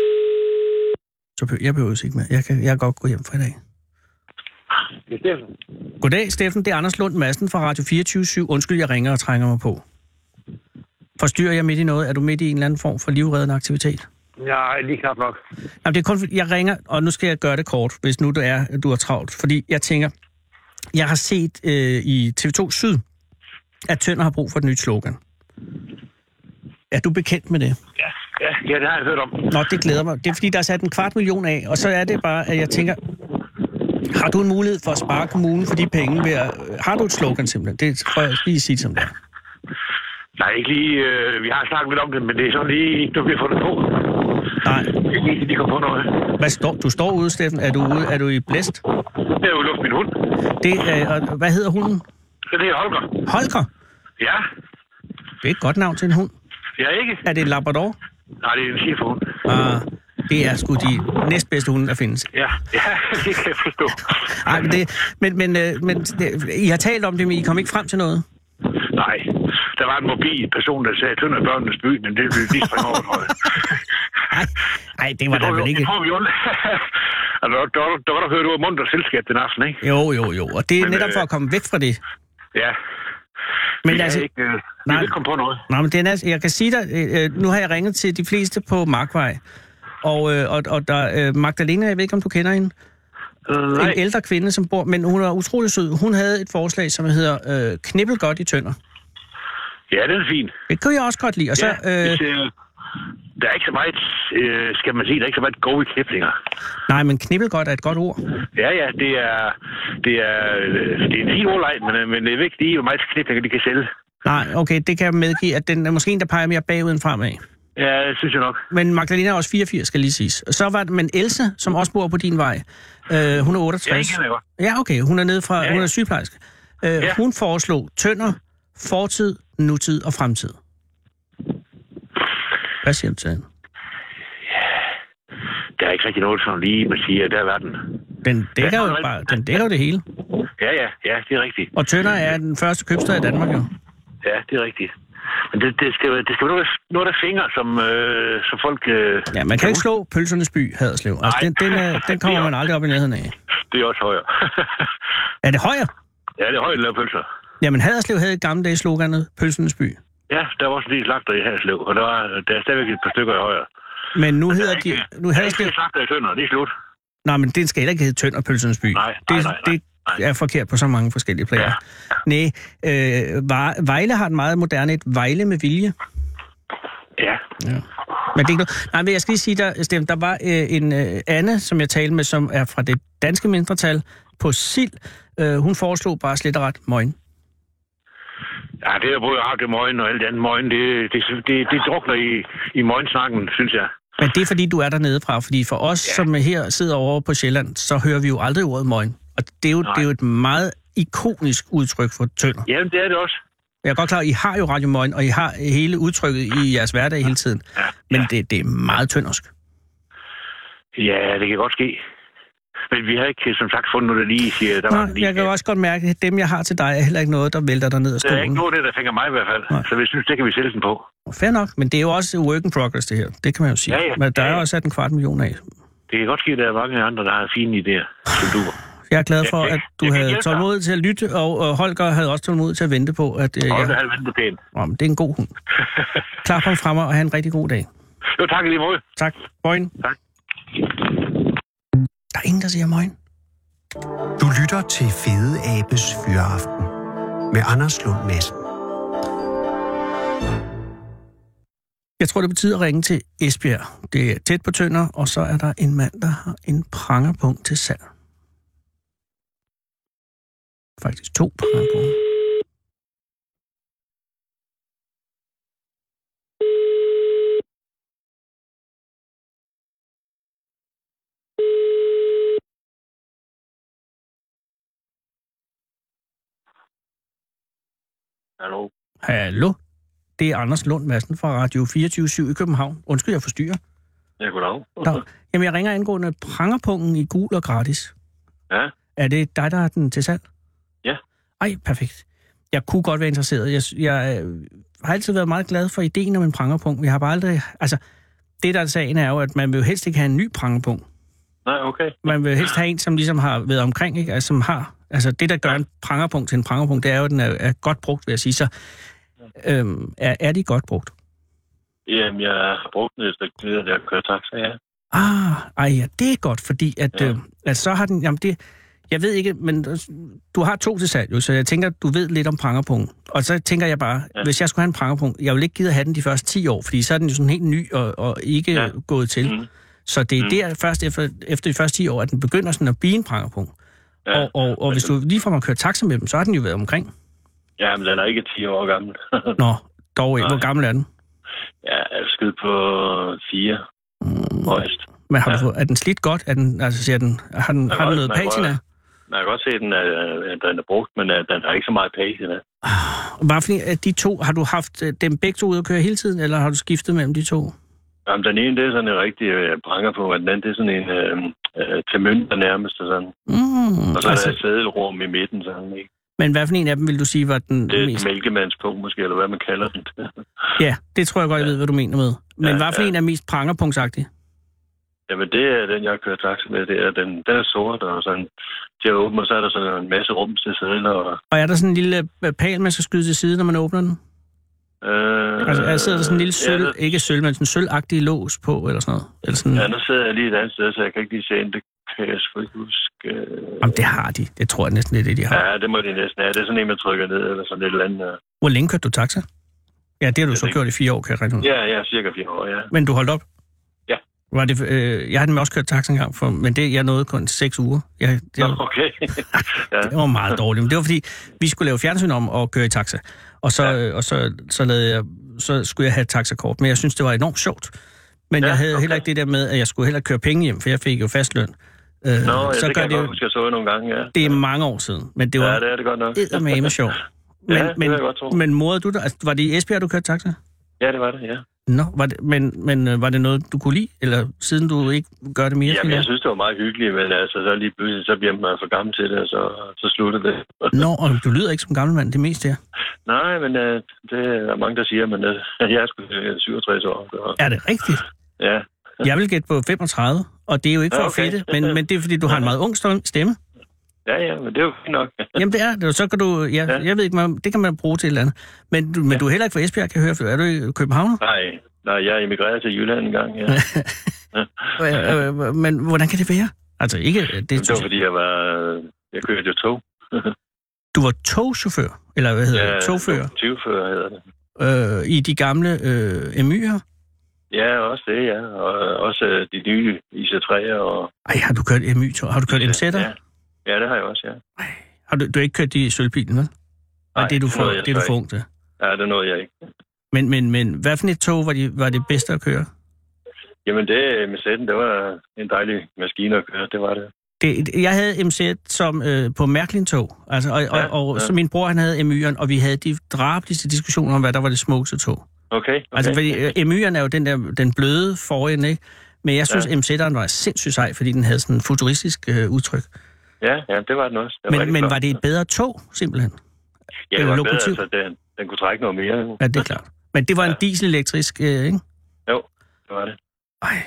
Speaker 4: Så behøver, jeg behøver ikke mere. Jeg kan, jeg kan godt gå hjem for i dag. Goddag, Steffen. Det er Anders Lund Madsen fra Radio 24 Undskyld, jeg ringer og trænger mig på. Forstyrrer jeg midt i noget? Er du midt i en eller anden form for livreddende aktivitet?
Speaker 8: Nej, lige knap nok.
Speaker 4: Jamen, det er kun, fordi jeg ringer, og nu skal jeg gøre det kort, hvis nu du er, du er travlt. Fordi jeg tænker, jeg har set øh, i TV2 Syd, at Tønder har brug for et nyt slogan. Er du bekendt med det?
Speaker 8: Ja, ja, ja det har jeg hørt om.
Speaker 4: Nå, det glæder mig. Det er fordi, der er sat en kvart million af, og så er det bare, at jeg tænker, har du en mulighed for at spare kommunen for de penge? Ved at, øh, har du et slogan simpelthen? Det tror jeg lige at sige som det er.
Speaker 8: Nej, ikke lige... Øh, vi har snakket lidt om det, men det er sådan lige ikke, du bliver fundet på.
Speaker 4: Nej.
Speaker 8: Det er ikke, de kommer på noget.
Speaker 4: Hvad står, du står ude, Steffen. Er du, ude, er du i blæst?
Speaker 8: Det er jo luft min hund.
Speaker 4: Det, er, øh, og hvad hedder hunden?
Speaker 8: Så det er Holger.
Speaker 4: Holger.
Speaker 8: Ja,
Speaker 4: Det er et godt navn til en hund.
Speaker 8: ja ikke?
Speaker 4: Er det en labrador?
Speaker 8: Nej, det er en chefhund.
Speaker 4: Ah, det er sgu de næstbedste hunde, der findes.
Speaker 8: Ja, ja, det kan jeg forstå.
Speaker 4: Ej, men, det, men, men, øh, men det, I har talt om det, men I kom ikke frem til noget.
Speaker 8: Nej, der var en mobil person, der sagde, Tønder er børnenes by, men det ville lige springe over noget.
Speaker 4: Nej, Ej, det var
Speaker 8: Det
Speaker 4: der
Speaker 8: tror
Speaker 4: vel
Speaker 8: vi-
Speaker 4: ikke.
Speaker 8: Det tror vi jo. Altså, der, der, der, var der hørt ud af mundt og selskab den aften, ikke?
Speaker 4: Jo, jo, jo. Og det er
Speaker 8: Men,
Speaker 4: netop for
Speaker 8: øh,
Speaker 4: at komme væk fra det.
Speaker 8: Ja.
Speaker 4: Men
Speaker 8: vi
Speaker 4: altså-
Speaker 8: kan ikke, øh, vi
Speaker 4: Nej.
Speaker 8: kan ikke komme på noget.
Speaker 4: Nå, men det er, næsten- jeg kan sige dig, øh, øh, nu har jeg ringet til de fleste på Markvej. Og, øh, og, og der, øh, Magdalena, jeg ved ikke, om du kender hende,
Speaker 8: Øh, Nej.
Speaker 4: en ældre kvinde, som bor, men hun er utrolig sød. Hun havde et forslag, som hedder øh, knippel godt i tønder.
Speaker 8: Ja, den er fin.
Speaker 4: Det kunne jeg også godt lide. Og så,
Speaker 8: ja,
Speaker 4: øh,
Speaker 8: hvis, øh, der er ikke så meget, øh, skal man sige, der er ikke så meget gode i kniblinger.
Speaker 4: nej, men knippel godt er et godt ord.
Speaker 8: Ja, ja, det er, det er, øh, det er en fin ordleg, men, øh, men det er vigtigt lige, hvor meget kniblinger de kan sælge.
Speaker 4: Nej, okay, det kan jeg medgive, at den er måske en, der peger mere bagud end fremad.
Speaker 8: Ja, det synes jeg nok.
Speaker 4: Men Magdalena er også 84, skal lige siges. Så var det, men Else, som også bor på din vej, øh, hun er
Speaker 8: Ja, det
Speaker 4: 68.
Speaker 8: kan jeg godt.
Speaker 4: Ja, okay. Hun er nede fra, ja,
Speaker 8: Ja,
Speaker 4: hun er
Speaker 8: ja.
Speaker 4: sygeplejerske. Øh, ja.
Speaker 8: Ja.
Speaker 4: Hun foreslog tønder, fortid, nutid og fremtid. Hvad siger du til den?
Speaker 8: Der er ikke rigtig noget, som lige man siger, der er den.
Speaker 4: Den dækker,
Speaker 8: Ja,
Speaker 4: jo,
Speaker 8: nej.
Speaker 4: bare, den dækker jo det hele.
Speaker 8: Ja, ja, ja, det er rigtigt.
Speaker 4: Og Tønder er den første købstad i Danmark jo.
Speaker 8: Ja, det er rigtigt. Men det, det, skal, være- det skal være noget, der- noget, der fingre, som, øh, som folk... Øh,
Speaker 4: Ja, man kan ikke slå pølsernes by, Haderslev. Altså,
Speaker 8: Nej.
Speaker 4: den, den, er, den kommer man aldrig op i nærheden af.
Speaker 8: Det er også højere.
Speaker 4: Er det højere?
Speaker 8: ja, det er højt lavet pølser.
Speaker 4: Jamen, Haderslev havde i gamle dage sloganet pølsernes by.
Speaker 8: Ja, der var også en del slagter i Haslev, og der, var, der er stadigvæk et par stykker i højere.
Speaker 4: Men nu
Speaker 8: Der
Speaker 4: hedder
Speaker 8: er ikke-
Speaker 4: de... Nu
Speaker 8: der er ikke
Speaker 4: Haderslev...
Speaker 8: flere slagter i Tønder, det er slut.
Speaker 4: Nej, men den skal heller ikke hedde Tønder Pølsernes By.
Speaker 8: nej,
Speaker 4: det,
Speaker 8: nej, nej,
Speaker 4: det er forkert på så mange forskellige planer. Ja. Nej, øh, Var- Vejle har et meget moderne et Vejle med vilje.
Speaker 8: Ja,
Speaker 4: Men det er ikke noget. Nej, men jeg skal lige sige, der, Stem, der var øh, en øh, Anne, som jeg talte med, som er fra det danske mindretal på Sild. Øh, hun foreslog bare slet og ret møgen.
Speaker 8: ja det er både Arke Møgen og alt det andet Møgen, det, det, det, det drukner i, i Møgensnakken, synes jeg.
Speaker 4: Men det er, fordi du er dernede fra. Fordi for os, ja. som her sidder over på Sjælland, så hører vi jo aldrig ordet møgen. Og det er jo, det er jo et meget ikonisk udtryk for tønder.
Speaker 8: Jamen, det er det også.
Speaker 4: Jeg er godt klar, at I har jo Radio Møgen, og I har hele udtrykket i jeres hverdag hele tiden. Men det, det er meget tøndersk.
Speaker 8: Ja, det kan godt ske. Men vi har ikke, som sagt, fundet noget, der lige siger, der var
Speaker 4: Nå,
Speaker 8: en lige.
Speaker 4: jeg kan jo også godt mærke, at dem, jeg har til dig, er heller ikke noget, der vælter dig ned af
Speaker 8: Der er ikke
Speaker 4: stolen.
Speaker 8: noget af det, der fænger mig i hvert fald.
Speaker 4: Nej.
Speaker 8: Så vi synes, det kan vi sælge den på.
Speaker 4: Fair nok, men det er jo også work in progress, det her. Det kan man jo sige.
Speaker 8: Ja, ja.
Speaker 4: Men der
Speaker 8: Ja,
Speaker 4: er
Speaker 8: ja.
Speaker 4: jo også sat en kvart million af.
Speaker 8: Det kan godt ske, at der er mange andre, der har fine idéer, som du.
Speaker 4: Jeg er glad
Speaker 8: Ja,
Speaker 4: for,
Speaker 8: det-
Speaker 4: at
Speaker 8: det
Speaker 4: du
Speaker 8: kan
Speaker 4: havde
Speaker 8: hjælpe dig.
Speaker 4: tålmodighed til at lytte, og, og Holger havde også tålmodighed til at vente på, at øh,
Speaker 8: Og der
Speaker 4: jeg...
Speaker 8: har ventet pænt.
Speaker 4: Nå, men det er en god hund. Klar på fremme og have en rigtig god dag.
Speaker 8: Jo, tak i lige måde.
Speaker 4: Tak. Moin.
Speaker 8: Tak.
Speaker 4: Der er ingen, der siger moin.
Speaker 3: Du lytter til Fede Abes Fyraften med Anders Lund Madsen.
Speaker 4: Jeg tror, det betyder at ringe til Esbjerg. Det er tæt på Tønder, og så er der en mand, der har en prangerpunkt til salg. Faktisk to prangerpunkter.
Speaker 8: Hallo.
Speaker 4: Hallo? Det er Anders Lund Madsen fra Radio 24 i København. Undskyld, jeg forstyrrer.
Speaker 8: Ja, goddag.
Speaker 4: Der, jamen, jeg ringer angående prangerpunkten i gul og gratis.
Speaker 8: Ja.
Speaker 4: Er det dig, der har den til salg?
Speaker 8: Ja.
Speaker 4: Ej, perfekt. Jeg kunne godt være interesseret. Jeg, jeg øh, har altid været meget glad for ideen om en prangerpunkt. Vi har bare aldrig... Altså, det der er sagen er jo, at man vil jo helst ikke have en ny prangerpunkt.
Speaker 8: Nej, okay.
Speaker 4: Man vil helst have en, som ligesom har været omkring, ikke? Altså, som har... Altså, det, der gør en prangerpunkt til en prangerpunkt, det er jo, at den er, er godt brugt, vil jeg sige. Så øhm, er, er de godt brugt?
Speaker 8: Jamen, jeg har brugt den et stykke tid, at jeg kører taxa, ja.
Speaker 4: Ah, ej ja, det er godt, fordi at, ja.
Speaker 8: Ja.
Speaker 4: øh, at så har den... Jamen det, jeg ved ikke, men øh, du har to til salg, jo, så jeg tænker, du ved lidt om prangerpunkt. Og så tænker jeg bare, ja.
Speaker 8: Ja.
Speaker 4: hvis jeg skulle have en prangerpunkt, jeg ville ikke give at have den de første 10 år, fordi så er den jo sådan helt ny og, og ikke ja.
Speaker 8: Ja.
Speaker 4: gået til.
Speaker 8: Mhm.
Speaker 4: Så det er
Speaker 8: Mhm.
Speaker 4: der først efter, efter de første 10 år, at den begynder sådan at blive en prangerpunkt. Ja.
Speaker 8: Ja.
Speaker 4: Og, og, og hvis du ligefrem har kørt taxa med dem, så har den jo været omkring.
Speaker 8: Jamen, den er ikke 10 år gammel.
Speaker 4: Nå, dog ikke. Hvor
Speaker 8: Nej.
Speaker 4: gammel er den?
Speaker 8: ja, jeg er skudt på øh, 4 højst.
Speaker 4: Men har ja.
Speaker 8: Ja.
Speaker 4: du, fået- er den slidt godt? Er den, altså, ser den, har den,
Speaker 8: Den
Speaker 4: har den
Speaker 8: er-
Speaker 4: noget
Speaker 8: den er
Speaker 4: patina?
Speaker 8: rød. Man kan godt se, at den er, at den er brugt, men at den har ikke så meget patina.
Speaker 4: Hvad for en af de to, har du haft øh, dem begge to ude at køre hele tiden, eller har du skiftet mellem de to?
Speaker 8: Jamen, den ene, det er sådan en rigtig øh, pranger på, og den anden, det er sådan en øh, øh, til mønter nærmest, og sådan.
Speaker 4: Mm,
Speaker 8: Og så er der
Speaker 4: altså,
Speaker 8: et sædelrum i midten, sådan, ikke?
Speaker 4: men hvad for en af dem vil du sige var den
Speaker 8: Det er
Speaker 4: mest?
Speaker 8: et mælkemandspunkt, måske, eller hvad man kalder den.
Speaker 4: Ja, det tror jeg godt, jeg ved, hvad du mener med. Men
Speaker 8: Ja,
Speaker 4: hvad for
Speaker 8: ja.
Speaker 4: en er mest prangerpunktsagtig?
Speaker 8: Jamen, det er den, jeg kører taxa med. Det er den, den er sort, og sådan til at åbne, og så er der sådan en masse rum til sædler, og...
Speaker 4: Og er der sådan en lille øh, pæl, man skal skyde til side, når man åbner den?
Speaker 8: Øh,
Speaker 4: Altså, er, sidder der sådan en lille sølv,
Speaker 8: Ja, der,
Speaker 4: ikke sølv, men sådan en sølvagtig lås på, eller sådan noget? Eller sådan,
Speaker 8: ja, der sidder jeg lige et andet sted, så jeg kan ikke lige se, ind. det kan jeg sgu ikke huske. Øh,
Speaker 4: Jamen, det har de. Det tror jeg næsten, det er det, de har.
Speaker 8: Ja, det må de næsten have. Det er sådan en, man trykker ned, eller sådan et eller andet. øh.
Speaker 4: Hvor længe kørte du taxa? Ja, det har du
Speaker 8: Jeg
Speaker 4: så
Speaker 8: ved
Speaker 4: gjort i fire år, kan jeg regne ud.
Speaker 8: Ja, ja, cirka fire år, ja.
Speaker 4: Men du holdt op?
Speaker 8: Ja.
Speaker 4: Var det, øh, jeg har nemlig også kørt taxa engang, for, men det, jeg nåede kun seks uger. Jeg, det,
Speaker 8: Nå,
Speaker 4: var,
Speaker 8: okay. ja.
Speaker 4: det var meget dårligt. Men det var fordi, vi skulle lave fjernsyn om og køre i taxa. Og så,
Speaker 8: Ja.
Speaker 4: ja. og så, så, lavede jeg, så skulle jeg have et taxakort. Men jeg synes, det var enormt sjovt. Men ja,
Speaker 8: Ja,
Speaker 4: jeg havde okay.
Speaker 8: okay.
Speaker 4: heller ikke det der med, at jeg skulle heller ikke køre penge hjem, for jeg fik jo fast løn. Øh,
Speaker 8: Nå, ja,
Speaker 4: så
Speaker 8: så det
Speaker 4: gør
Speaker 8: kan
Speaker 4: det,
Speaker 8: jeg godt
Speaker 4: jo,
Speaker 8: huske, jeg så nogle gange, ja.
Speaker 4: det er mange år siden, men det var
Speaker 8: Ja, det er det godt nok.
Speaker 4: eddermame sjovt.
Speaker 8: Ja,
Speaker 4: Men,
Speaker 8: det vil
Speaker 4: men,
Speaker 8: jeg godt tro.
Speaker 4: men morede du dig? Altså, var det i Esbjerg, du kørte taxa?
Speaker 8: Ja, det var det, ja.
Speaker 4: Nå, var det, men, men øh, var det noget, du kunne lide? Eller siden du ikke gør det mere?
Speaker 8: Jamen,
Speaker 4: tænker
Speaker 8: jeg synes, det var meget hyggeligt, men altså, så lige pludselig, så bliver man for gammel til det, og så, så slutter det.
Speaker 4: Nå, og du lyder ikke som gammel mand, det meste er.
Speaker 8: Nej, men øh, det er mange, der siger, men øh, jeg er sgu øh, 67 år. Så,
Speaker 4: Er det rigtigt?
Speaker 8: ja.
Speaker 4: Jeg vil gætte på 35, og det er jo ikke for
Speaker 8: Ja,
Speaker 4: okay.
Speaker 8: okay.
Speaker 4: at fedte, men, men det er, fordi du har en meget ung stemme- stemme.
Speaker 8: ja, ja, men det er jo fint nok.
Speaker 4: Jamen, det er det, og så kan du... Ja,
Speaker 8: Ja.
Speaker 4: Jeg ved ikke, man, det kan man bruge til et eller andet. Men, du- men ja. du er heller ikke fra Esbjerg, kan jeg høre, for er du i København?
Speaker 8: Nej, nej, jeg emigrerede til Jylland en gang, ja.
Speaker 4: Ja. Øh, men hvordan kan det være? Altså, ikke... Det,
Speaker 8: Det var
Speaker 4: det
Speaker 8: fordi, jeg var... Jeg kørte jo tog.
Speaker 4: du var togchauffør, eller hvad hedder
Speaker 8: Ja,
Speaker 4: det? Togfører
Speaker 8: Togfører hedder det.
Speaker 4: øh, i de gamle øh, emyrer.
Speaker 8: Ja, også det, ja. Og også øh, de nye IC3'er og...
Speaker 4: Ej, har du kørt MY-tog? Har du kørt MZ'er?
Speaker 8: Ja. ja, det har jeg også, ja.
Speaker 4: Har du, du har ikke kørt de i sølvbilen, vel? Nej, det er du for,
Speaker 8: nåede jeg
Speaker 4: det er du
Speaker 8: så
Speaker 4: for
Speaker 8: ikke.
Speaker 4: ung til.
Speaker 8: Ja, det nåede jeg ikke.
Speaker 4: Men, men, men hvad for et tog var, de, var det bedste at køre?
Speaker 8: Jamen, det øh, med sætten, det var en dejlig maskine at køre, det var det.
Speaker 4: Det, det- jeg havde MZ som øh, på Mærklin-tog, altså, og, ja,
Speaker 8: Ja,
Speaker 4: og, og ja.
Speaker 8: ja.
Speaker 4: så min bror han havde MY'eren, og vi havde de drabeligste diskussioner om, hvad der var det smukkeste tog. Okay.
Speaker 8: Okay, okay.
Speaker 4: Altså, fordi øh, MY'eren er jo den, der, den bløde forende, ikke? Men jeg synes, ja.
Speaker 8: Ja.
Speaker 4: MZ'eren var sindssygt sej, fordi den havde sådan en futuristisk øh, udtryk.
Speaker 8: Ja, ja, det var den også. Den
Speaker 4: Men,
Speaker 8: rigtig
Speaker 4: men
Speaker 8: flot.
Speaker 4: var det et bedre tog, simpelthen?
Speaker 8: ja, det var bedre,
Speaker 4: lokomotiv?
Speaker 8: altså, den, den kunne trække noget mere.
Speaker 4: Ja, det er klart. Men det var en dieselelektrisk, øh, ikke?
Speaker 8: Det var det.
Speaker 4: Ej,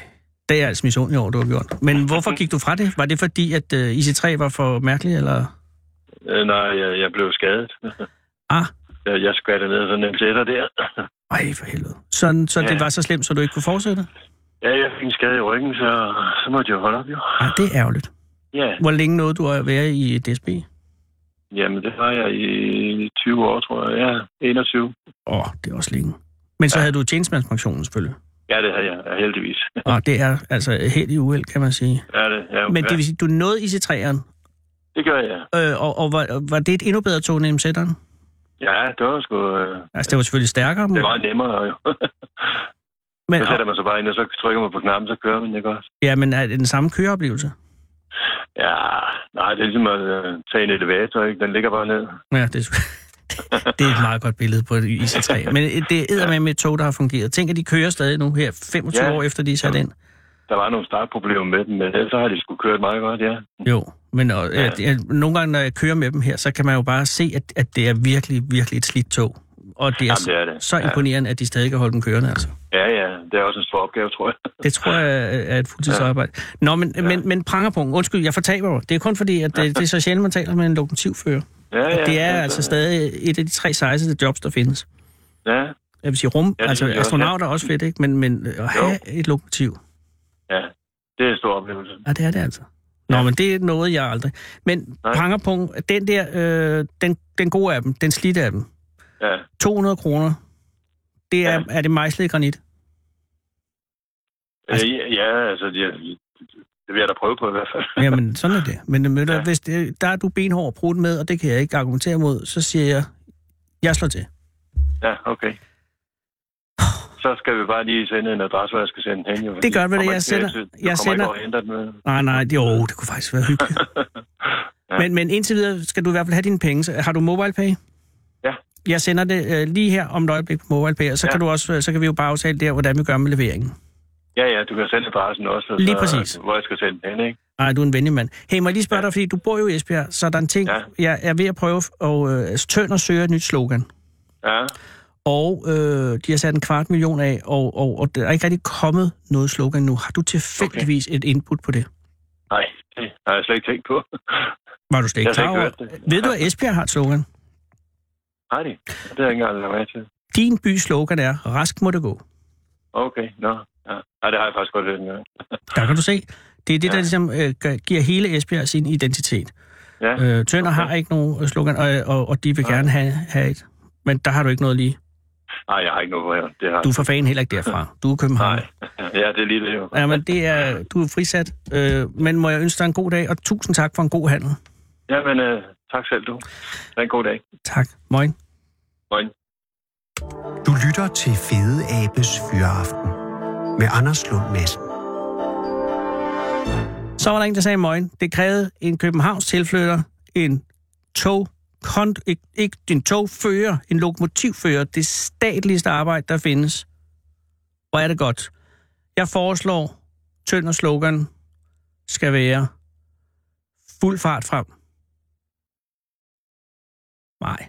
Speaker 4: det er jeg altså misundelig over, du har gjort. Men hvorfor gik du fra det? Var det fordi, at øh, IC3 var for mærkelig, eller?
Speaker 8: Øh, nej, jeg, jeg blev skadet.
Speaker 4: Ah.
Speaker 8: Jeg, jeg skvattede ned af sådan en sætter der.
Speaker 4: Ej, for helvede. Sådan, så ja.
Speaker 8: Ja.
Speaker 4: det var så slemt, så du ikke kunne fortsætte?
Speaker 8: Ja, jeg fik en skade i ryggen, så, så måtte jeg holde op, jo.
Speaker 4: Ja, det er ærgerligt.
Speaker 8: Ja,
Speaker 4: Hvor længe nåede du at være i DSB?
Speaker 8: jamen det var jeg i 20 år, tror jeg. Ja, 21.
Speaker 4: Åh, oh, det er også længe. Men så ja. havde du tjenestemandspensionen selvfølgelig.
Speaker 8: Ja, det havde jeg, ja, heldigvis.
Speaker 4: Og det er altså helt i uheld, kan man sige.
Speaker 8: Ja, det, ja,
Speaker 4: Men
Speaker 8: ja,
Speaker 4: det vil sige, du nåede IC3'eren,
Speaker 8: det gør jeg.
Speaker 4: øh, og, og var, var det et endnu bedre tog end MZ'eren?
Speaker 8: Ja, det var sgu... Øh,
Speaker 4: Altså, det var selvfølgelig stærkere,
Speaker 8: det var nemmere, jo.
Speaker 4: men,
Speaker 8: så sætter man sig bare ind, og så trykker man på knappen, så kører man, ikke også?
Speaker 4: ja, men er det den samme køreoplevelse?
Speaker 8: Ja, nej, det er ligesom at øh, tage en elevator, ikke? Den ligger bare ned.
Speaker 4: Ja, det er, sgu- det er et meget godt billede på et IC3. Men øh, det er med et tog, der har fungeret. Tænk, at de kører stadig nu her, 25 ja.
Speaker 8: Ja.
Speaker 4: år efter de er sat ind.
Speaker 8: Der var nogle startproblemer med dem, men ellers så har de sgu kørt meget godt, ja.
Speaker 4: Jo, men og, ja.
Speaker 8: Ja.
Speaker 4: jeg, jeg, nogle gange, når jeg kører med dem her, så kan man jo bare se, at, at det er virkelig, virkelig et slidt tog. Og det er,
Speaker 8: Jamen, det er det.
Speaker 4: så
Speaker 8: Ja.
Speaker 4: imponerende, at de stadig kan holde dem kørende, altså.
Speaker 8: Ja, ja, det er også en stor opgave, tror jeg.
Speaker 4: Det tror jeg øh, er et fuldtidsarbejde. Nå, men, ja. men, men prangerpunkt. Undskyld, jeg fortaber mig. Det er kun fordi, at øh, det, det er så sjældent, man taler med en lokomotivfører.
Speaker 8: Ja, ja,
Speaker 4: Og det er
Speaker 8: ja,
Speaker 4: altså stadig et af de tre sejeste jobs, der findes.
Speaker 8: Ja,
Speaker 4: Jeg vil sige rum, ja,
Speaker 8: det
Speaker 4: altså
Speaker 8: synes jeg også,
Speaker 4: astronauter er også fedt, ikke? Men, men at have jo.
Speaker 8: Jo.
Speaker 4: et lokomotiv,
Speaker 8: ja. Det er en stor oplevelse.
Speaker 4: ja, det er det altså. Nå, ja. men det er noget, jeg aldrig... Men
Speaker 8: Nej.
Speaker 4: prangerpunkt, den der, øh, den, den gode af dem, den slidte af dem,
Speaker 8: Ja.
Speaker 4: 200 kroner, det er, ja.
Speaker 8: Ja.
Speaker 4: er det mejslet i granit? Altså-
Speaker 8: Altså, ja, altså, det, det vil jeg da prøve på i hvert fald.
Speaker 4: Jamen, sådan er det. Men øh, ja.
Speaker 8: Ja.
Speaker 4: hvis det, der er du benhård og brudt med, og det kan jeg ikke argumentere mod, så siger jeg, jeg slår til.
Speaker 8: Ja, okay. Så skal vi bare lige sende en adresse, hvor jeg skal sende hen. Jo,
Speaker 4: Det gør vi da,
Speaker 8: Kommer
Speaker 4: jeg
Speaker 8: ikke
Speaker 4: sender-
Speaker 8: til- du
Speaker 4: jeg
Speaker 8: kommer
Speaker 4: sender-
Speaker 8: Ikke over og henter den med.
Speaker 4: Nej, nej, det, jo, det kunne faktisk være hyggeligt. ja.
Speaker 8: Ja.
Speaker 4: men, men indtil videre skal du i hvert fald have dine penge. Så Har du MobilePay?
Speaker 8: Ja.
Speaker 4: Jeg sender det øh, lige her om et øjeblik på MobilePay, og så, ja.
Speaker 8: Ja.
Speaker 4: kan du også, øh, så kan vi jo bare aftale der, hvordan vi gør med leveringen.
Speaker 8: Ja, ja, du kan sende adressen også. og
Speaker 4: Lige
Speaker 8: så-
Speaker 4: præcis.
Speaker 8: Hvor jeg skal sende den hen, ikke?
Speaker 4: Nej, du er en venlig mand. Hey, må jeg lige spørge ja.
Speaker 8: Ja.
Speaker 4: dig, fordi du bor jo i Esbjerg, så der er en ting, ja.
Speaker 8: Ja.
Speaker 4: jeg er ved at prøve at øh, tønd og søge et nyt slogan.
Speaker 8: Ja,
Speaker 4: Og øh, de har sat en kvart million af, og, og, og der er ikke rigtig kommet noget slogan nu. Har du tilfældigvis okay. et input på det?
Speaker 8: nej, det har jeg slet ikke tænkt på.
Speaker 4: Var du slet ikke
Speaker 8: Jeg har
Speaker 4: klar
Speaker 8: slet
Speaker 4: over?
Speaker 8: ikke hørt det.
Speaker 4: Ved du, at Esbjerg har et slogan?
Speaker 8: Har de? Det har jeg ikke engang lagt med til.
Speaker 4: Din bys slogan er, rask må det gå.
Speaker 8: Okay, nå. Ja. Ej, det har jeg faktisk godt hørt engang.
Speaker 4: Der kan du se. Det er det, der
Speaker 8: Ja.
Speaker 4: ligesom øh, gør- giver hele Esbjerg sin identitet.
Speaker 8: Ja,
Speaker 4: Øh, Tønder okay. har ikke nogen øh, slogan, og, og, og de vil
Speaker 8: Nej.
Speaker 4: gerne have, have et. Men der har du ikke noget lige.
Speaker 8: nej, jeg har ikke noget på her. Det har
Speaker 4: Du er for fanden heller ikke derfra. Du er København.
Speaker 8: Nej, ja, det er lige det jo.
Speaker 4: Ja, men det er, du er frisat. Øh, men må jeg ønske dig en god dag, og tusind tak for en god handel.
Speaker 8: Ja, men øh, tak selv du. Ha' en god dag.
Speaker 4: Tak. Moin.
Speaker 8: Moin.
Speaker 3: Du lytter til Fede Abes Fyraften med Anders Lund Madsen.
Speaker 4: Så var der en, der sagde morgen. Det krævede en Københavns tilflytter, en tog, kont, ikke, ikke en togfører, en lokomotivfører, det statligste arbejde, der findes. Hvor er det godt. Jeg foreslår, tønder slogan skal være fuld fart frem. Nej.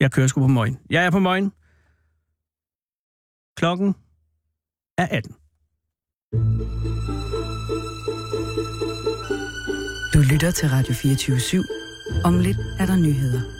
Speaker 4: Jeg kører sgu på morgen. Jeg er på morgen. Klokken er 18.
Speaker 1: Du lytter til Radio 24 /7. Om lidt er der nyheder.